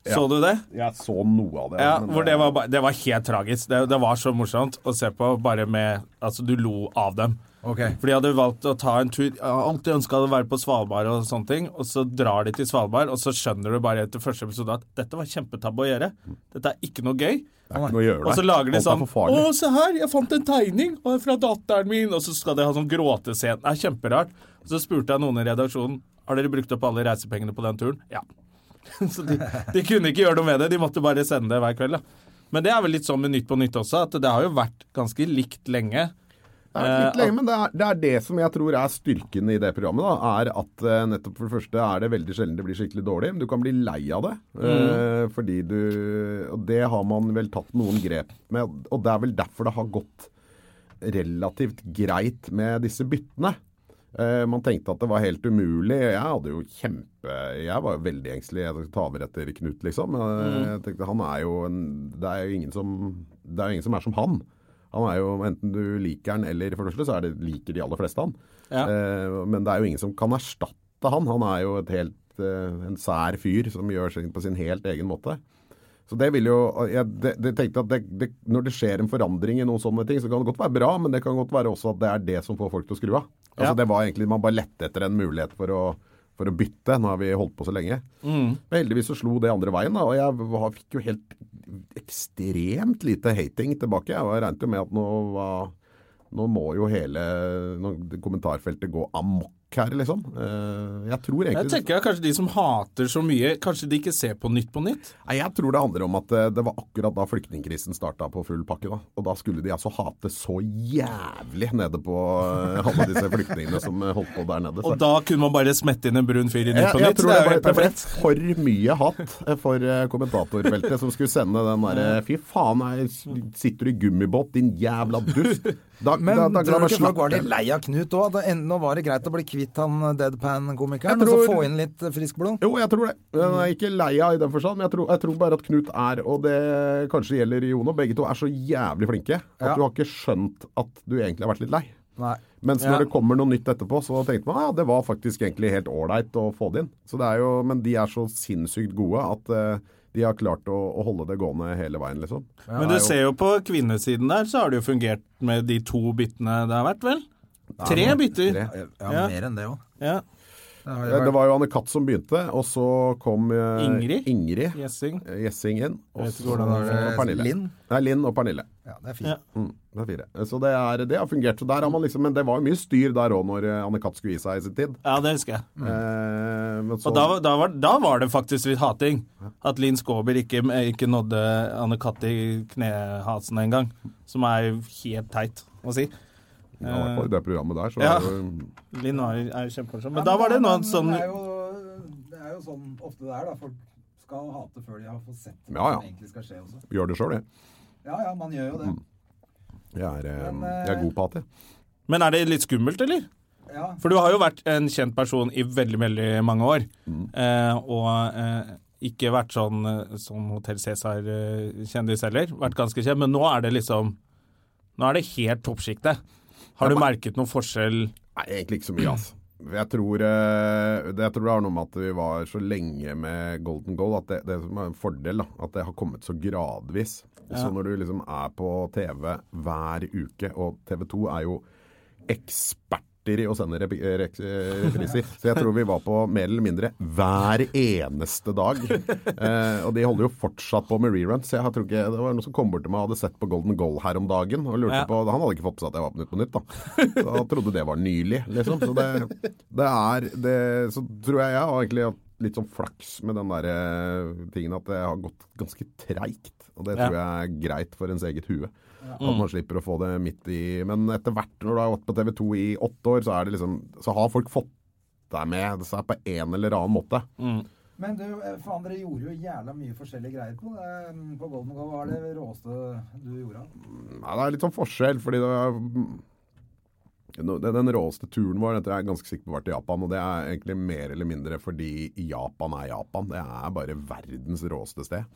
Så du det? Jeg så noe av det. Ja, men hvor det var, ba- det var helt tragisk. Det, det var så morsomt å se på, bare med Altså, du lo av dem. Ok. For de hadde valgt å ta en tur Jeg har alltid ønska å være på Svalbard og sånne ting, og så drar de til Svalbard, og så skjønner du bare etter første episode at dette var kjempetabbe å gjøre. Dette er ikke noe gøy. Det er ikke noe å gjøre Og så der. lager de Alt er sånn for Å, farlig. se her, jeg fant en tegning og det er fra datteren min. Og så skal de ha sånn gråtescene. Det er kjemperart. Og så spurte jeg noen i redaksjonen har dere brukt opp alle reisepengene på den turen. Ja. så de, de kunne ikke gjøre noe med det. De måtte bare sende det hver kveld. da. Men det er vel litt sånn med Nytt på Nytt også, at det har jo vært ganske likt lenge. Det er litt lenge, men det er, det er det som jeg tror er styrken i det programmet. da, er at eh, nettopp For det første er det veldig sjelden det blir skikkelig dårlig, men du kan bli lei av det. eh, fordi du Og det har man vel tatt noen grep med, og det er vel derfor det har gått relativt greit med disse byttene. Eh, man tenkte at det var helt umulig. Jeg hadde jo kjempe Jeg var jo veldig engstelig. Jeg skulle ta over etter Knut, liksom. Eh, Jeg tenkte han er jo en Det er jo ingen som Det er jo ingen som er som han. Han er jo Enten du liker han eller For det første så er det, liker de aller fleste han. Ja. Eh, men det er jo ingen som kan erstatte han. Han er jo et helt eh, en sær fyr som gjør ting på sin helt egen måte. Så det vil jo, jeg det, det tenkte at det, det, Når det skjer en forandring i noen sånne ting, så kan det godt være bra, men det kan godt være også at det er det som får folk til å skru av. Altså Ja. Det var egentlig Man bare lette etter en mulighet for å for å bytte. Nå har vi holdt på så lenge. Mm. Men heldigvis så slo det andre veien, da, og jeg var- fikk jo helt ekstremt lite hating tilbake. Jeg var- regnet jo med at nå var Nå må jo hele nå, det kommentarfeltet gå amok her, liksom. Eh, Jeg tror Jeg egentlig tenker at kanskje de som hater så mye, kanskje de ikke ser på Nytt på Nytt? Nei, Jeg tror det handler om at eh, det var akkurat da flyktningkrisen starta på full pakke. da. Og da skulle de altså hate så jævlig nede på eh, alle disse flyktningene som eh, holdt på der nede. Så- Og da kunne man bare smette inn en brun fyr i Nytt på jeg, jeg Nytt? tror Det det er jo ble, helt det ble perfekt. for mye hatt for eh, kommentatorfeltet som skulle sende den derre Fy faen, jeg s- sitter du i gummibåt, din jævla dust. Da, Men da, da, tror du da, ikke folk var litt slapp- lei av Knut òg? Nå var det greit å bli kvitt han deadpan-komikeren, Jeg og tror- så få inn litt eh, frisk blod? Jo, jeg tror det. Jeg er ikke lei av i den forstand, men jeg tror, jeg tror bare at Knut er, og det kanskje gjelder Jon òg, begge to er så jævlig flinke at Ja. du har ikke skjønt at du egentlig har vært litt lei. Nei. Mens Ja. når det kommer noe nytt etterpå, så tenkte man ja, det var faktisk egentlig helt ålreit å få det inn. Så det er jo, men de er så sinnssykt gode at eh, de har klart å, å holde det gående hele veien, liksom. Men du ser jo på kvinnesiden der, så har det jo fungert med de to byttene det har vært, vel? Tre bytter. Tre. Ja, Ja. mer enn det òg. Ja. Eh, Det var jo Anne Katt som begynte, og så kom eh, Ingrid? Ingrid Gjessing. eh, Gjessing inn. Og vet ikke så hvordan det er. Pernille. Linn? Nei, Linn og Pernille. Ja, det er Ja. fint. Mm, det er fire. Så det, er, det har fungert. Så der har man liksom, men det var jo mye styr der òg når eh, Anne Katt skulle gi seg i sin tid. Ja, det husker jeg. Eh, men så, Mm. Og da, var- da, var, da var det faktisk litt hating. At Linn Skåber ikke, ikke nådde Anne Katte i knehasen engang. Som er jo helt teit å si. ja, i hvert fall i det programmet der, så Ja. var det jo- Linn var, er jo kjempemorsom. Men da var det noe sånn det, er jo, det er jo sånn ofte det er, da. Folk skal hate før de har fått sett hva Ja, ja. som egentlig skal skje også. gjør det sjøl, jeg. Ja ja, man gjør jo det. Jeg er, eh, Men, eh, jeg er god på hatt, jeg. Men er det litt skummelt, eller? Ja. For du har jo vært en kjent person i veldig, veldig mange år. Mm. Eh, og eh, ikke vært sånn eh, som Hotell Cæsar-kjendis heller. Vært ganske kjent. Men nå er det liksom Nå er det helt toppsjiktet. Har du merket noen forskjell? Nei, egentlig ikke så mye, altså. Jeg tror, eh, det, jeg tror det har noe med at vi var så lenge med Golden Goal at det, det som er en fordel, da, at det har kommet så gradvis. Så når du liksom er på TV hver uke, og TV 2 er jo eksperter i å sende rep- eh, rek- eh, repriser. Så jeg tror vi var på mer eller mindre hver eneste dag. Eh, og de holder jo fortsatt på med reruns. Så jeg tror ikke, det var noen som kom bort til meg og hadde sett på Golden Goal her om dagen. og lurte Ja. på, Han hadde ikke fått med seg at jeg var på Nytt på Nytt, da. Så han trodde det var nylig, liksom. Så det, det er det, Så tror jeg jeg har egentlig hatt litt sånn flaks med den der eh, tingen at det har gått ganske treigt. Og det Ja. Mm. tror jeg er greit for ens eget hue. At man slipper å få det midt i Men etter hvert, når du har vært på TV 2 i åtte år, så, er det liksom, så har folk fått deg med disse her på en eller annen måte. Mm. Men du, eh, faen, dere gjorde jo jævla mye forskjellige greier på eh, På Golden Goal. Hva er det råeste du gjorde? Nei, det er litt sånn forskjell, fordi det er, Nå- den, den råeste turen vår dette er jeg ganske sikker på har vært i Japan, og det er egentlig mer eller mindre fordi Japan er Japan. Det er bare verdens råeste sted.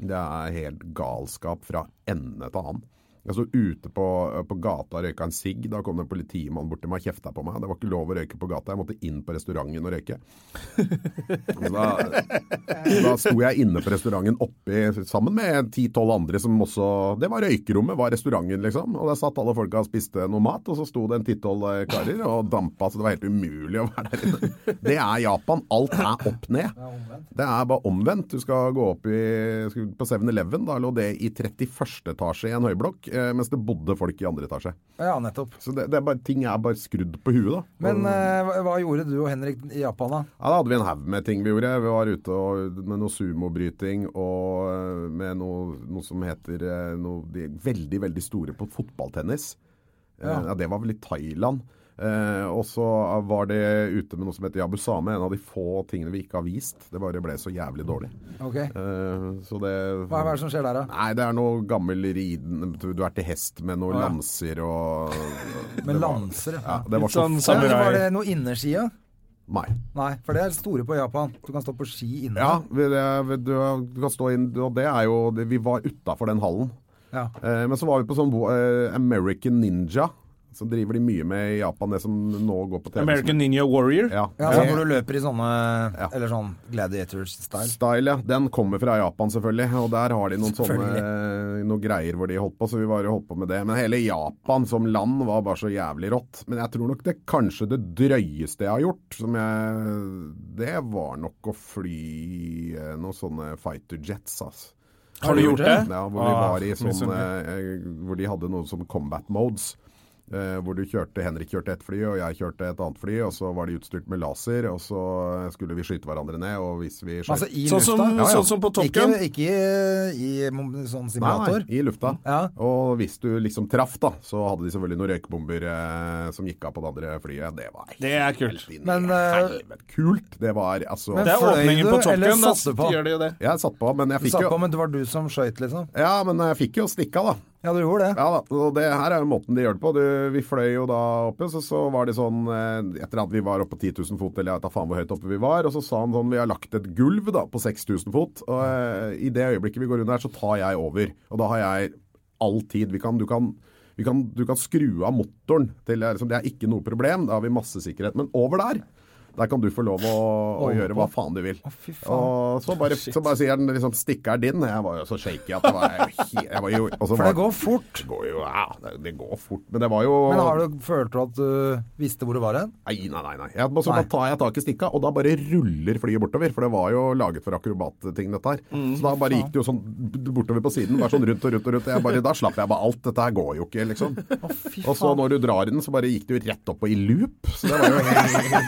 Det er helt galskap fra ende til annen. Jeg sto ute på, på gata og røyka en sigg. Da kom det en politimann bort til meg og kjefta på meg. Det var ikke lov å røyke på gata. Jeg måtte inn på restauranten og røyke. Så da, da sto jeg inne på restauranten oppi sammen med 10-12 andre som også Det var røykerommet, var restauranten, liksom. Og der satt alle folka og spiste noe mat, og så sto det en 10-12 karer og dampa, så det var helt umulig å være der inne. Det er Japan. Alt er opp ned. Det er bare omvendt. Du skal gå opp i, skal på 7-Eleven. Da lå det i 31. etasje i en høyblokk, eh, mens det bodde folk i andre etasje. Ja, nettopp. Så det, det er bare, ting er bare skrudd på huet, da. Men Og- eh, hva- hva gjorde du og Henrik i Japan, da? ja, Da hadde vi en haug med ting vi gjorde. Vi var ute og, med noe sumobryting og eh, med noe, noe som heter eh, noe, De er veldig, veldig store på fotballtennis. Eh, Ja. det var vel i Thailand. Eh, og så var det ute med noe som heter Yabusame, en av de få tingene vi ikke har vist. Det bare ble så jævlig dårlig. Ok. Eh, så det Hva er det som skjer der, da? Nei, det er noe gammel riden Du du er til hest med noen lanser og Med lanser, Ja, ja. det var Litt så sånn f- Ja, samurai. var det noe innersida? Nei. Nei, for det er store på Japan. Du kan stå på ski inne. Ja, vi- det, du, du kan stå inn, og det er jo Vi var utafor den hallen. Ja. Eh, men så var vi på sånn bo- eh, American Ninja. Så driver de mye med i Japan, det som nå går på TV. American Ninja Warrior. Ja. Ja, sånn når du løper i sånne Eller sånn gladiators-style. Style, ja. Den kommer fra Japan, selvfølgelig. Og der har de noen sånne noen greier hvor de holdt på, så vi bare holdt på med det. Men hele Japan som land var bare så jævlig rått. Men jeg tror nok det kanskje det drøyeste jeg har gjort, som jeg Det var nok å fly eh, noen sånne fighter jets, altså. Har du gjort det? Ja, hvor, vi var i Ah, sånn, misunnelig. eh, hvor de hadde noe som combat modes. Eh, hvor du kjørte, Henrik kjørte ett fly, og jeg kjørte et annet fly. Og så var de utstyrt med laser, og så skulle vi skyte hverandre ned. Og hvis vi skjøt Altså i Sånn lufta. som- sånn som på Top Ikke, Gun. ikke i, i sånn Nei, simulator. nei, i lufta. Ja. Og hvis du liksom traff, da, så hadde de selvfølgelig noen røykbomber eh, som gikk av på det andre flyet. Det var Det er kult. helt inn i Men, eh, helvete kult. Det var altså men Det er Fløy åpningen du, på Top eller Gun. Da satte du på? gjør de jo det. Jeg satt på, men jeg Du fikk satt på, jo men det var du som skøyt, liksom. Ja, men jeg fikk jo stikka, da. Ja, du gjorde det. Ja da, og det her er jo måten de gjør det på. Du, vi fløy jo da oppe, så, så var det sånn eh, Etter at vi var oppe på 10 000 fot, eller jeg vet da faen hvor høyt oppe vi var, og så sa han sånn Vi har lagt et gulv da på 6000 fot, og eh, i det øyeblikket vi går under her, så tar jeg over. Og da har jeg all tid. Vi kan, du kan vi kan, du kan skru av motoren. Til, liksom, det er ikke noe problem. Da har vi masse sikkerhet. Men over der, der kan du få lov å, å gjøre hva faen du vil. fy faen. og så bare, så bare sier den liksom 'Stikket er din'. Jeg var jo så shaky at det var, jeg, var helt- jeg var jo og så For var- det går fort. det går jo, ja, det- det går fort. Men det var jo Men har du følt du at du visste hvor du var hen? Nei, nei, nei. nei. Jeg, så Nei. Da tar jeg tak i stikka, og da bare ruller flyet bortover. For det var jo laget for akrobatting, dette her. Mm, så da bare gikk det jo sånn bortover på siden. Bare sånn rundt og rundt og rundt. Jeg bare, da slapp jeg bare alt. Dette her går jo ikke, liksom. og så når du drar i den, så bare gikk det jo rett opp og i loop. Så det var jo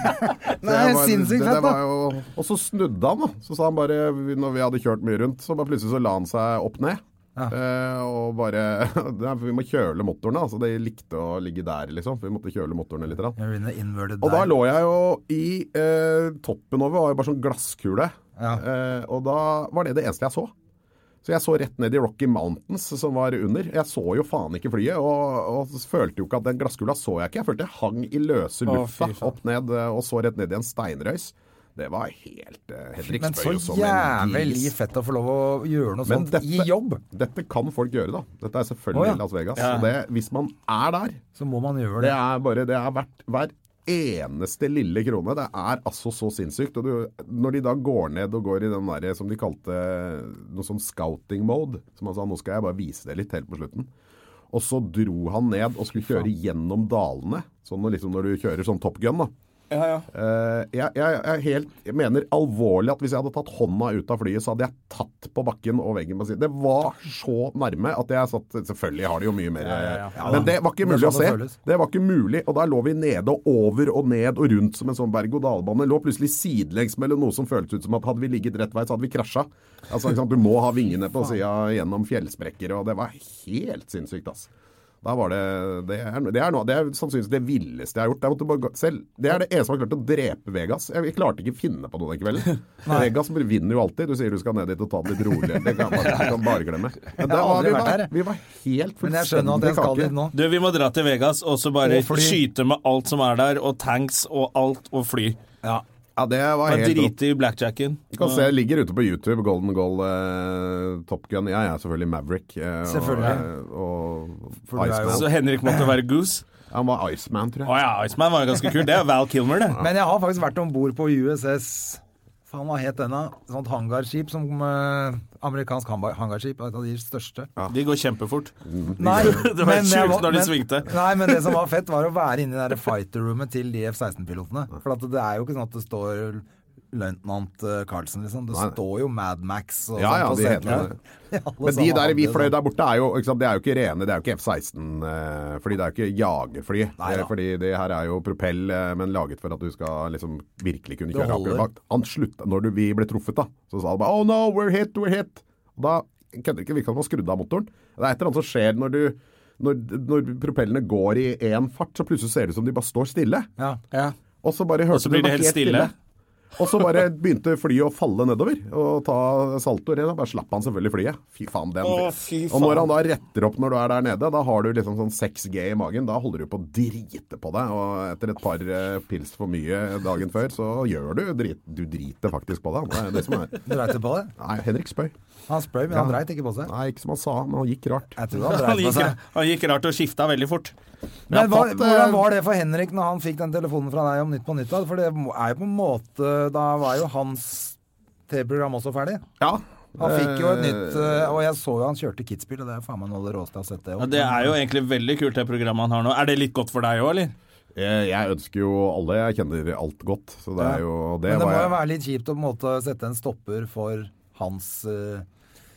Nei, det var- sinnssykt det- det fett, da. var jo- Og så snudde han, da. Så sa han bare, når vi hadde kjørt mye rundt, så bare plutselig så la han seg opp ned. Eh, og bare Nei, for Vi må kjøle motoren, da. Så det likte å ligge der, liksom. For vi måtte kjøle motorene litt. Da. You're in the inverted Og da dial. lå jeg jo i eh, toppen over, var jo bare sånn glasskule. Ja. Eh, og da var det det eneste jeg så. Så jeg så rett ned i Rocky Mountains som var under. Jeg så jo faen ikke flyet, og, og følte jo ikke at den glasskula så jeg ikke. Jeg følte jeg hang i løse lufta fy faen. opp ned, eh, og så rett ned i en steinrøys. Det var helt eh, Henrik Men så spøy jo som en jævlig gris. fett å få lov å gjøre noe Men sånt i jobb. dette kan folk gjøre, da. Dette er selvfølgelig Å, ja. Las Vegas. Ja. Og det, hvis man er der, Så må man gjøre det det. er bare Det er verdt hver eneste lille krone. Det er altså så sinnssykt. Og du, når de da går ned og går i den derre som de kalte noe sånn scouting mode, som han sa nå skal jeg bare vise det litt helt på slutten. Og så dro han ned og skulle kjøre gjennom dalene. Sånn når- liksom når du kjører sånn Top Gun, da. Eh, jeg, jeg, jeg, er helt, jeg mener alvorlig at hvis jeg hadde tatt hånda ut av flyet, så hadde jeg tatt på bakken og veggen. på siden. Det var så nærme at jeg satt Selvfølgelig har de jo mye mer eh, Men det var ikke Det er mulig å se. sånn det føles. Det var ikke mulig. Og der lå vi nede og over og ned og rundt som en sånn berg-og-dal-bane. Lå plutselig sidelengs mellom noe som føltes ut som at hadde vi ligget rett vei, så hadde vi krasja. Altså, ikke sant? Du må ha vingene på sida gjennom fjellsprekker, og det var helt sinnssykt, altså. Da var det, det, er, det, er noe, det er sannsynligvis det villeste jeg har gjort. Jeg måtte bare, gå- selv, det er det eneste som har klart å drepe Vegas. Jeg, jeg klarte ikke å finne på noe den kvelden. Vegas vinner jo alltid. Du sier du skal ned dit og ta det litt roligere. Det kan jeg bare, jeg kan bare glemme. Men der har var, aldri vi, vært var, der, jeg. vi var helt Men jeg skjønner at fullstendig jeg skal dit kake. nå. Du, vi må dra til Vegas og så bare Og fly. skyte med alt som er der, og tanks og alt, og fly. Ja, det var Bare helt rått. drite i blackjacken. Du kan se, jeg ligger ute på YouTube, Golden Goal, eh, Top Gun. Jeg er selvfølgelig Maverick. eh, Selvfølgelig. Og, For og du er jo- Iceman. Så Henrik måtte være goose. Han var Iceman, tror jeg. Å ja, Iceman var jo ganske kul. Det er Val Kilmer, det. Men jeg har faktisk vært om bord på USS Faen, hva het denne? Sånt hangarskip som eh, Amerikansk hangar- hangarskip. Et av de største. De går kjempefort. Mm. Nei, Det var men sjukt jeg var- når de men- svingte. Nei, men det som var fett, var å være inne i det der fighter-rommet til de F-16-pilotene. For at det er jo ikke sånn at det står løytnant eh, Carlsen, liksom. Det Nei. står jo Mad Max og Ja, sånn ja, på de heter setene. det. Ja, alle Men de sammen der hadde vi det fløy sånn. der borte, er jo, ikke sant, det er jo ikke rene, det er jo ikke F-16-fly. Det er jo ikke jagerfly. Nei Eh, da. Fordi det her er jo propell, eh, men laget for at du skal liksom virkelig kunne Det kjøre holder. akkurat. Han slutta Når du, vi ble truffet, da, så sa han bare 'Oh no, we're hit, we're hit'. Og da kødder ikke virka som han skrudde av motoren. Det er et eller annet som skjer når du når, når propellene går i én fart, så plutselig ser det ut som de bare står stille. sånn. Ja. Og så bare hørte så blir du det var helt stille. Og så bare begynte flyet å falle nedover og ta saltoer. Da bare slapp han selvfølgelig flyet. Fy faen, den. Å, fy Og når faen. han da retter opp når du er der nede, da har du liksom sånn 6G i magen. Da holder du på å drite på deg. Og etter et par eh, pils for mye dagen før, så gjør du drit. Du driter faktisk på deg. Det er det som er Dreit du på det? Nei, Henrik spøy. Han spøy, men han dreit ikke på seg. Nei, ikke som han sa, men han gikk rart. Jeg tror han Han dreit på gikk, seg. han gikk rart og skifta veldig fort. Men Jeg hva, fatt, eh, hvordan var det for Henrik når han fikk den telefonen fra deg om Nytt på Nytt? da? For det er jo på en måte Da var jo hans TV-program også ferdig. Ja. Han fikk jo et Eh, nytt eh, Og jeg så jo han kjørte Kitzbühel, og det er faen meg noe av det råeste jeg har sett. det Ja, også. det er jo egentlig veldig kult, det programmet han har nå. Er det litt godt for deg òg, eller? Eh, Jeg, jeg ønsker jo alle jeg kjenner alt godt, så det er jo det Men det var må jo jeg- være litt kjipt å på en måte sette en stopper for hans eh,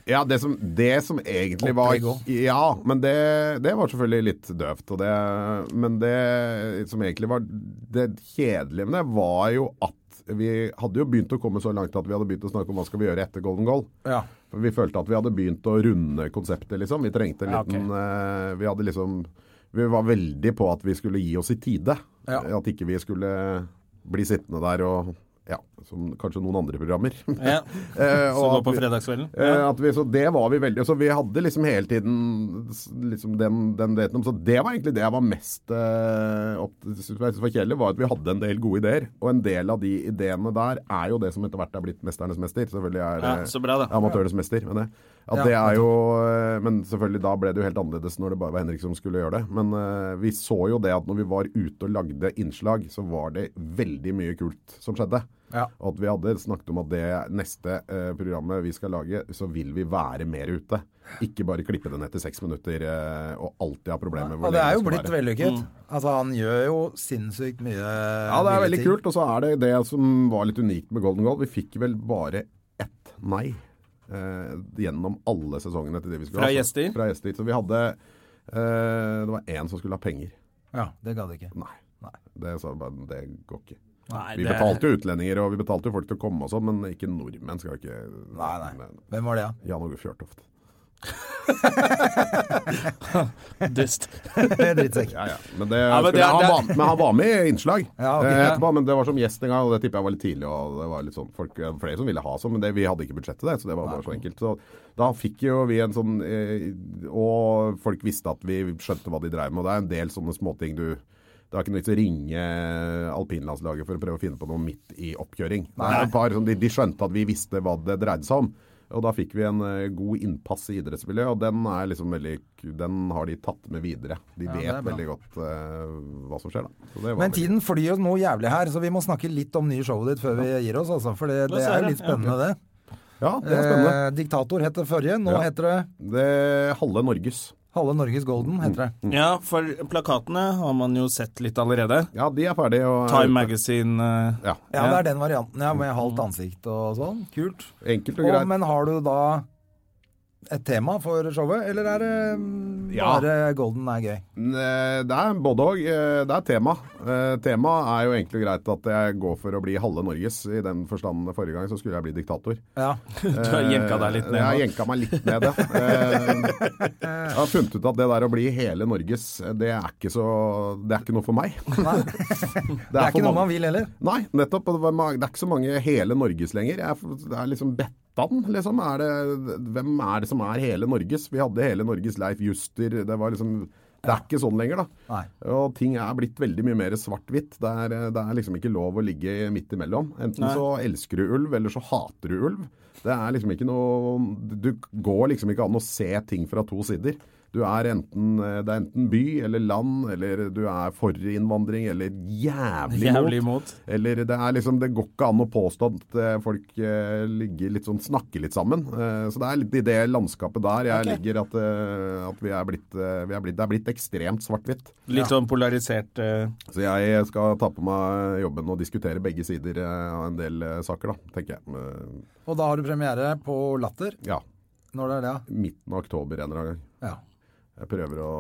Ja, det som, det som egentlig var Opplegg også. Ja, men det, det var selvfølgelig litt døvt. og det- Men det som egentlig var det kjedelige med det, var jo at vi hadde jo begynt å komme så langt at vi hadde begynt å snakke om hva skal vi gjøre etter Golden Goal. Ja. For Vi følte at vi hadde begynt å runde konseptet, liksom. Vi trengte en Ja, ok. liten eh, Vi hadde liksom Vi var veldig på at vi skulle gi oss i tide. Ja. At ikke vi skulle bli sittende der og Ja, som kanskje noen andre programmer. Ja. Eh, Så og gå på at vi- fredagskvelden. Eh, At vi, så det var vi veldig Så vi hadde liksom hele tiden s- liksom den, den daten om. Så det var egentlig det jeg var mest eh, opp, synes jeg var kjedelig, var at vi hadde en del gode ideer. Og en del av de ideene der er jo det som etter hvert er blitt Mesternes mester. Selvfølgelig er Ja, eh, så bra, da. amatørenes mester. Men, det, at Ja, det er jo eh, Men selvfølgelig da ble det jo helt annerledes når det bare var Henrik som skulle gjøre det. Men eh, vi så jo det at når vi var ute og lagde innslag, så var det veldig mye kult som skjedde. Ja. Og at vi hadde snakket om at det neste eh, programmet vi skal lage, så vil vi være mer ute. Ikke bare klippe det ned til seks minutter eh, og alltid ha problemer med Og det lenge er jo skal blitt være. vellykket. Mm. Altså, han gjør jo sinnssykt mye Ja, det er mye veldig ting. kult. Og så er det det som var litt unikt med Golden Goal. Vi fikk vel bare ett nei eh, gjennom alle sesongene til det vi Fra skulle ha. altså. gjester? Fra gjester. Så vi hadde eh, Det var én som skulle ha penger. Ja, det gadd ikke. Nei. Det sa vi bare Det går ikke. Nei, Vi det- betalte jo utlendinger, og vi betalte jo folk til å komme og sånn, men ikke nordmenn skal ikke Nei, nei. Hvem var det, da? Jan Åge Fjørtoft. Dust. Ja? Drittsekk. Ja, ja. Men, det, men skulle- det- han, det- var, men han var med i innslag Ja, ok. eh, etterpå. Men det var som gjest en gang, og det tipper jeg var litt tidlig. Og det var litt sånn, folk, eh, flere som ville ha sånn, men det, vi hadde ikke budsjett til det. Så det var bare så enkelt. Så da fikk jo vi en sånn eh, Og folk visste at vi skjønte hva de drev med. Og det er en del sånne småting du det er ikke noe vits å ringe alpinlandslaget for å prøve å finne på noe midt i oppkjøring. Det er et par som de, de skjønte at vi visste hva det dreide seg om. Og da fikk vi en eh, god innpass i idrettsmiljøet, og den, er liksom veldig, den har de tatt med videre. De det er vet bra. veldig godt eh, hva som skjer, da. Så det var Men veldig- tiden flyr jo noe jævlig her, så vi må snakke litt om nye showet ditt før vi gir oss, altså. For det, det ser jeg. er jo litt spennende, det. Ja, det er spennende. Eh, diktator het det forrige. Nå Ja. heter det Det er halve Norges. Halve Norges Golden, heter Mm. det. Ja, for plakatene har man jo sett litt allerede. Ja, de er ferdige. Og, Time Magazine eh, Ja, Ja, det er den varianten, ja, med halvt ansikt og sånn. Kult. enkelt og Og, greit. men har du da et tema for showet, eller er det mm, Ja. bare Golden er gøy? Eh, Det er både òg. Det er tema. Eh, Tema er jo egentlig greit at jeg går for å bli halve Norges. I den forstand forrige gang så skulle jeg bli diktator. Eh, Ja. Du har jenka deg litt ned. Jeg har nå. jenka meg litt ned, ja. Eh, Jeg har funnet ut at det der å bli hele Norges, eh, det er ikke så Det er ikke noe for meg. Nei. Det er for ikke noe mange. man vil heller. Nei, nettopp. og Det var ma- det er ikke så mange hele Norges lenger. Jeg er- Det er liksom Bettan, liksom. Er det, hvem er det som er hele Norges? Vi hadde hele Norges Leif Juster. Det var liksom Det er ikke sånn lenger, da. Nei. Og ting er blitt veldig mye mer svart-hvitt. Det, er- det er liksom ikke lov å ligge midt imellom. Enten så elsker du ulv, eller så hater du ulv. Det er liksom ikke noe Du går liksom ikke an å se ting fra to sider. Du er enten, det er enten by eller land, eller du er for innvandring, eller jævlig, Jævlig imot. imot. Eller det er liksom, det går ikke an å påstå at eh, folk eh, ligger litt sånn, snakker litt sammen. Eh, så det er litt i det landskapet der jeg ligger at, eh, at vi er blitt, eh, vi er blitt, det er blitt ekstremt svart-hvitt. Litt sånn polarisert eh, Så jeg skal ta på meg jobben og diskutere begge sider eh, av en del eh, saker, da, tenker jeg. Men, Og da har du premiere på Latter. ja, Når det er det, ja. midten av oktober en eller annen gang. ja. Jeg prøver å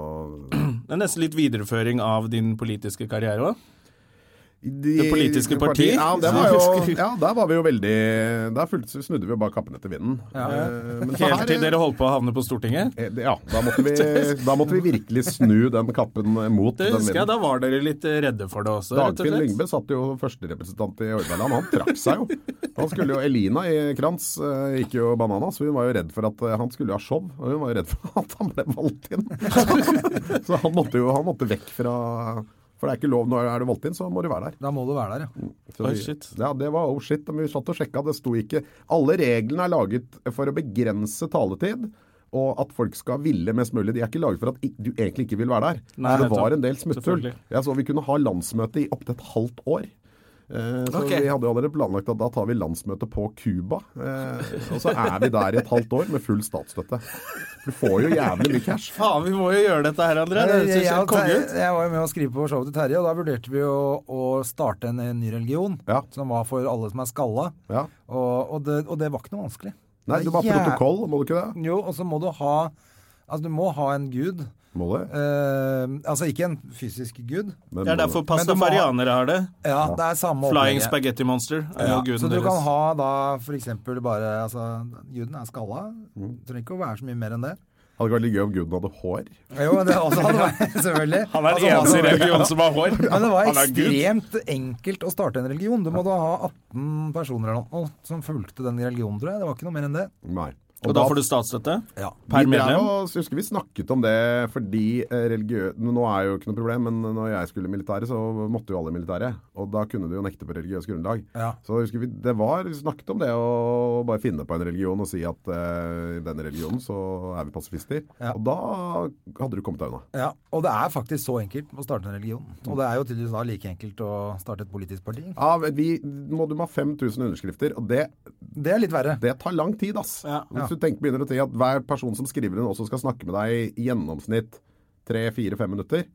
Det er nesten litt videreføring av din politiske karriere òg. de- Det politiske parti? Ja, det var jo, ja, der var vi jo veldig Der fulgte, snudde vi jo bare kappen etter vinden. Eh, men så Helt her- til dere holdt på å havne på Stortinget? Eh, Ja, da måtte, vi, da måtte vi virkelig snu den kappen mot Det den husker jeg, vinden. Da var dere litt eh, redde for det også. rett og Dagfinn slett. Lyngbø satt jo førsterepresentant i Hordaland. Han trakk seg jo. Han skulle jo, Elina i Krantz eh, gikk jo bananas. Hun var jo redd for at eh, han skulle ha show, og hun var jo redd for at han ble valgt inn. Så, så han måtte jo han måtte vekk fra For det er ikke lov. Når er du valgt inn, så må du være der. Da må du være der, ja. Så Oh, vi- shit. Ja, det var oh shit. Men vi satt og sjekka, det sto ikke Alle reglene er laget for å begrense taletid. Og at folk skal ville mest mulig. De er ikke laget for at i- du egentlig ikke vil være der. Nei, så det var nettopp. en del smutthull. Selvfølgelig. Jeg så vi kunne ha landsmøte i opptil et halvt år. Eh, så Ok. vi hadde jo allerede planlagt at da tar vi landsmøte på Cuba. Eh, og så er vi der i et halvt år med full statsstøtte. Du får jo jævlig mye cash. Faen, vi må jo gjøre dette her, André. Det jeg, synes jeg er konge Terje- ut. jeg var jo med å skrive på showet til Terje, og da vurderte vi å, å starte en, en ny religion Ja. som var for alle som er skalla. Ja. Og, og, det, og det var ikke noe vanskelig. Nei, Det du er må ha jæv- protokoll, må du ikke det? Jo, og så må du ha Altså, du må ha en gud. Må det? Eh, altså ikke en fysisk gud. Det er Men eh, må det. derfor Men det var- pastafarianere har det. Ja, det er samme Flying opplegget. Spaghetti Monster er jo Ja, guden så du deres. kan ha da for eksempel bare altså, Juden er skalla. Trenger ikke å være så mye mer enn det. Hadde ikke vært litt gøy om guden hadde hår. Jo, men det også hadde vært selvfølgelig. Han er Altså, den eneste i hadde- religionen som har hår. Men det var Han er gud. ekstremt enkelt å starte en religion. Du måtte ha 18 personer eller noe som fulgte den religionen, tror jeg. Det var ikke noe mer enn det. Nei. Og da får du statsstøtte? Ja. Per Vi drev medlem? og- jeg husker vi snakket om det fordi eh, religiø... Nå er jo ikke noe problem, men når jeg skulle i militæret, så måtte jo alle i militæret. Og da kunne du jo nekte på religiøst grunnlag. Ja. Så jeg husker vi det var, vi snakket om det å bare finne på en religion og si at eh, i denne religionen så er vi pasifister. Ja. Og da hadde du kommet deg unna. Ja, Og det er faktisk så enkelt å starte en religion. Og det er jo tydeligvis da like enkelt å starte et politisk parti. Ja, vi, må du må ha 5000 underskrifter, og det, Det er litt verre. det tar lang tid, ass. Ja. Hvis du tenker, begynner å tenke at hver person som skriver inn også skal snakke med deg i gjennomsnitt 3-4-5 minutter,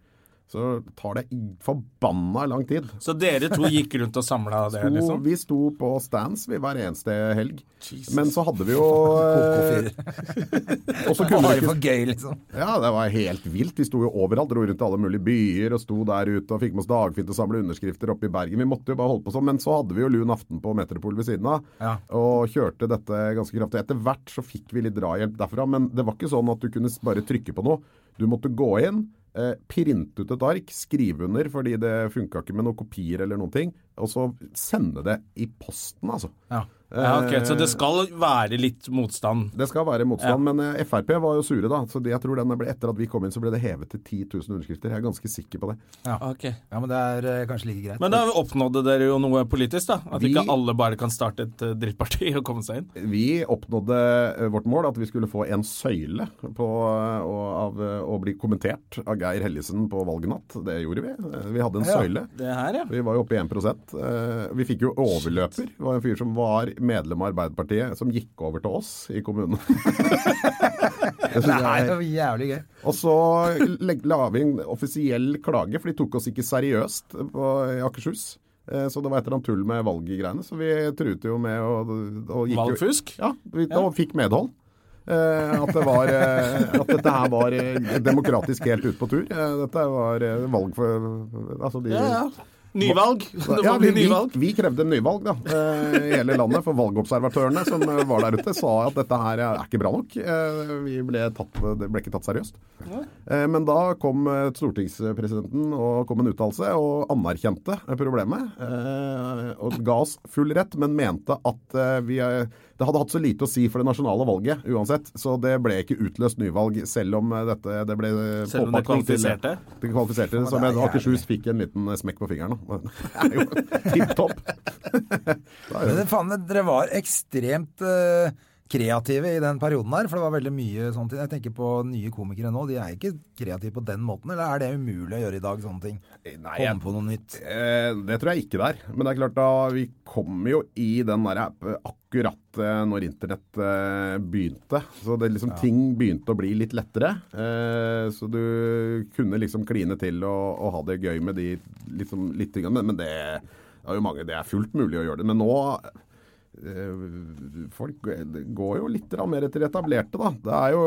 så tar det i- forbanna lang tid. Så dere to gikk rundt og samla det, To- liksom? Vi sto på stands vi hver eneste helg. Men så hadde vi jo eh, og så kunne Bare vi for ikke, gøy, liksom. Ja, det var helt vilt. Vi sto jo overalt, dro rundt til alle mulige byer og sto der ute og fikk med oss Dagfinn til å samle underskrifter oppe i Bergen. Vi måtte jo bare holde på sånn. Men så hadde vi jo Lun aften på Metropol ved siden av Ja. og kjørte dette ganske kraftig. Etter hvert så fikk vi litt drahjelp derfra, men det var ikke sånn at du kunne s- bare trykke på noe. Du måtte gå inn, eh, printe ut et ark, skrive under fordi det funka ikke med noen kopier eller noen ting, og så sende det i posten, altså. Ja. Ja, Eh, ok, Så det skal være litt motstand? Det skal være motstand, men eh, Frp var jo sure da, så de- jeg tror den ble, etter at vi kom inn så ble det hevet til 10 000 underskrifter. Jeg er ganske sikker på det. Ok. ja, men det er eh, kanskje like greit. Men da oppnådde dere jo noe politisk, da? At Vi- ikke alle bare kan starte et eh, drittparti og komme seg inn? Vi oppnådde eh, vårt mål, at vi skulle få en søyle på eh, å, av, eh, å bli kommentert av Geir Hellesen på valgnatt. Det gjorde vi. Eh, Vi hadde en søyle. Det her, ja. Vi var jo oppe i 1 Eh, Vi fikk jo overløper. Det var en fyr som var medlem av Arbeiderpartiet, som gikk over til oss i kommunen. Det synes det jeg- er jo jævlig gøy. Og så leg- la vi en offisiell klage, for de tok oss ikke seriøst på, i Akershus. Eh, Så det var et eller annet tull med valggreiene, så vi truet jo med å og gikk jo- Valgfusk? Ja, vi, og fikk medhold. Eh, at, det var, eh, at dette her var eh, demokratisk helt ut på tur. Eh, dette var eh, valg for altså de, Ja, ja. Nyvalg. Det må Ja, vi, bli vi, nyvalg. vi krevde nyvalg da, eh, i hele landet, for valgobservatørene som eh, var der ute sa at dette her er ikke bra nok. Eh, Vi ble, tatt, det ble ikke tatt seriøst. Eh, Men da kom eh, stortingspresidenten og kom en uttalelse og anerkjente problemet. eh, Og ga oss full rett, men mente at eh, vi, eh, det hadde hatt så lite å si for det nasjonale valget uansett. Så det ble ikke utløst nyvalg, selv om eh, dette, det ble eh, Selv om det påpakning til- kvalifiserte? Det kvalifiserte det som det er en Akershus fikk en liten eh, smekk på fingeren. da. Det er jo tipp topp. Men det, faen, dere var ekstremt eh, kreative i den perioden her, for det var veldig mye sånne ting. Jeg tenker på nye komikere nå, de er ikke kreative på den måten, eller er det umulig å gjøre i dag, sånne ting? Nei, jeg- Komme på noe nytt. Eh, Det tror jeg ikke det er. Men det er klart da, vi kom jo i den der app- akkurat eh, når internett eh, begynte. Så det liksom ting begynte å bli litt lettere. Eh, Så du kunne liksom kline til og, og ha det gøy med sånn, de liksom, litt tingene. Men, men det, det er jo mange, det er fullt mulig å gjøre det. Men nå eh, Folk går jo litt grann mer etter etablerte, da. Det er jo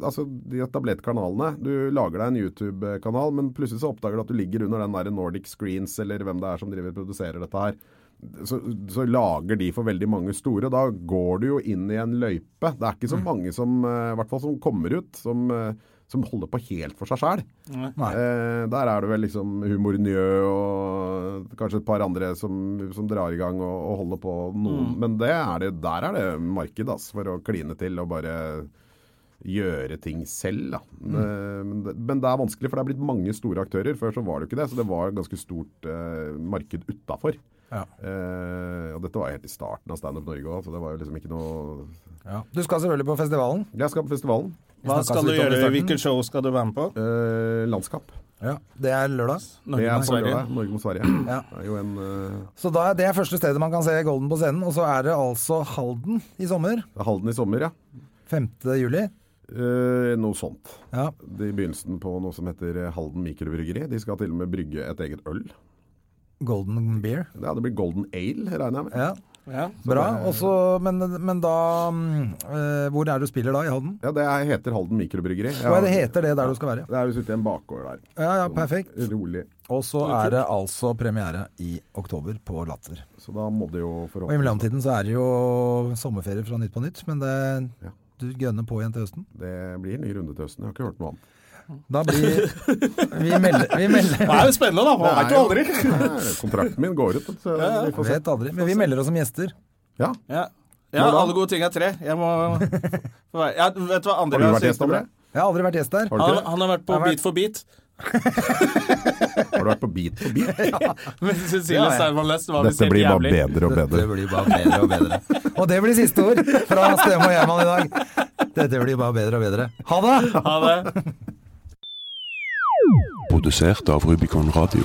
altså, de etablerte kanalene. Du lager deg en YouTube-kanal, men plutselig så oppdager du at du ligger under den der Nordic Screens, eller hvem det er som driver og produserer dette her. Så, så lager de for veldig mange store. og Da går du jo inn i en løype. Det er ikke så mange som, eh, i hvert fall som kommer ut, som, eh, som holder på helt for seg sjæl. Nei. Eh, der er det vel liksom Humor Njø og kanskje et par andre som, som drar i gang og, og holder på noen. Mm. Men det er det, der er det marked ass, for å kline til og bare gjøre ting selv. Da. Mm. Eh, Men, det, men det er vanskelig, for det er blitt mange store aktører. Før så var det jo ikke det, så det var et ganske stort eh, marked utafor. Eh, Ja. og dette var helt i starten av Standup Norge òg, så det var jo liksom ikke noe Ja. Du skal selvfølgelig på festivalen. Jeg skal på festivalen. Vi Hva snakket skal så du vidt om det i gjøre? starten. Hvilket show skal du være med på? Eh, landskap. Ja, Det er lørdag. Det Norge er mot på Sverige. lørdag. Norge mot Sverige. Ja. Det er jo en eh, Så da, er det er første stedet man kan se Golden på scenen. Og så er det altså Halden i sommer. Det er Halden i sommer, ja. 5. juli. Eh, noe sånt. Ja. Det er begynnelsen på noe som heter eh, Halden mikrobryggeri. De skal til og med brygge et eget øl. Golden Beer. Ja, det blir Golden Ale, regner jeg med. Ja, Ja. Bra. Og så- men, men da mm, eh, Hvor er det du spiller da, i Halden? Ja, det er- heter Halden mikrobryggeri. Hva er det heter det der du skal være? Det er visst ute i en bakgård der. Sånn Ja, ja, perfekt. Rolig. Og så er det altså premiere i oktober på Latter. Så da må det jo Og i forhåpentligvis mellomtiden så er det jo sommerferie fra Nytt på Nytt, men det, Ja. du gønner på igjen til høsten. Det blir en ny runde til høsten. Jeg har ikke hørt noe annet. Da blir Vi melder, vi melder Det er jo spennende, da. Man vet jo aldri. Kontrakten min går ut, så vi får se. Vet aldri, men vi melder oss som gjester. Ja. Ja. ja, alle gode ting er tre. Jeg må få være ja, Vet du hva Har andre du har vært sagt? gjest, André? Jeg har aldri vært gjest der. Har du Han, ikke det? han har vært på Jeg har vært- Beat for beat. Har du vært på Beat for beat? Men Cecilie Ja, ja. Steinmann Lest var visst helt Dette blir bare jævlig. bedre og bedre. blir bare bedre og bedre. og det blir siste ord fra Stemme og Gjerman i dag. Dette blir bare bedre og bedre. Ha det! Ha det. Produsert av Rubicon Radio.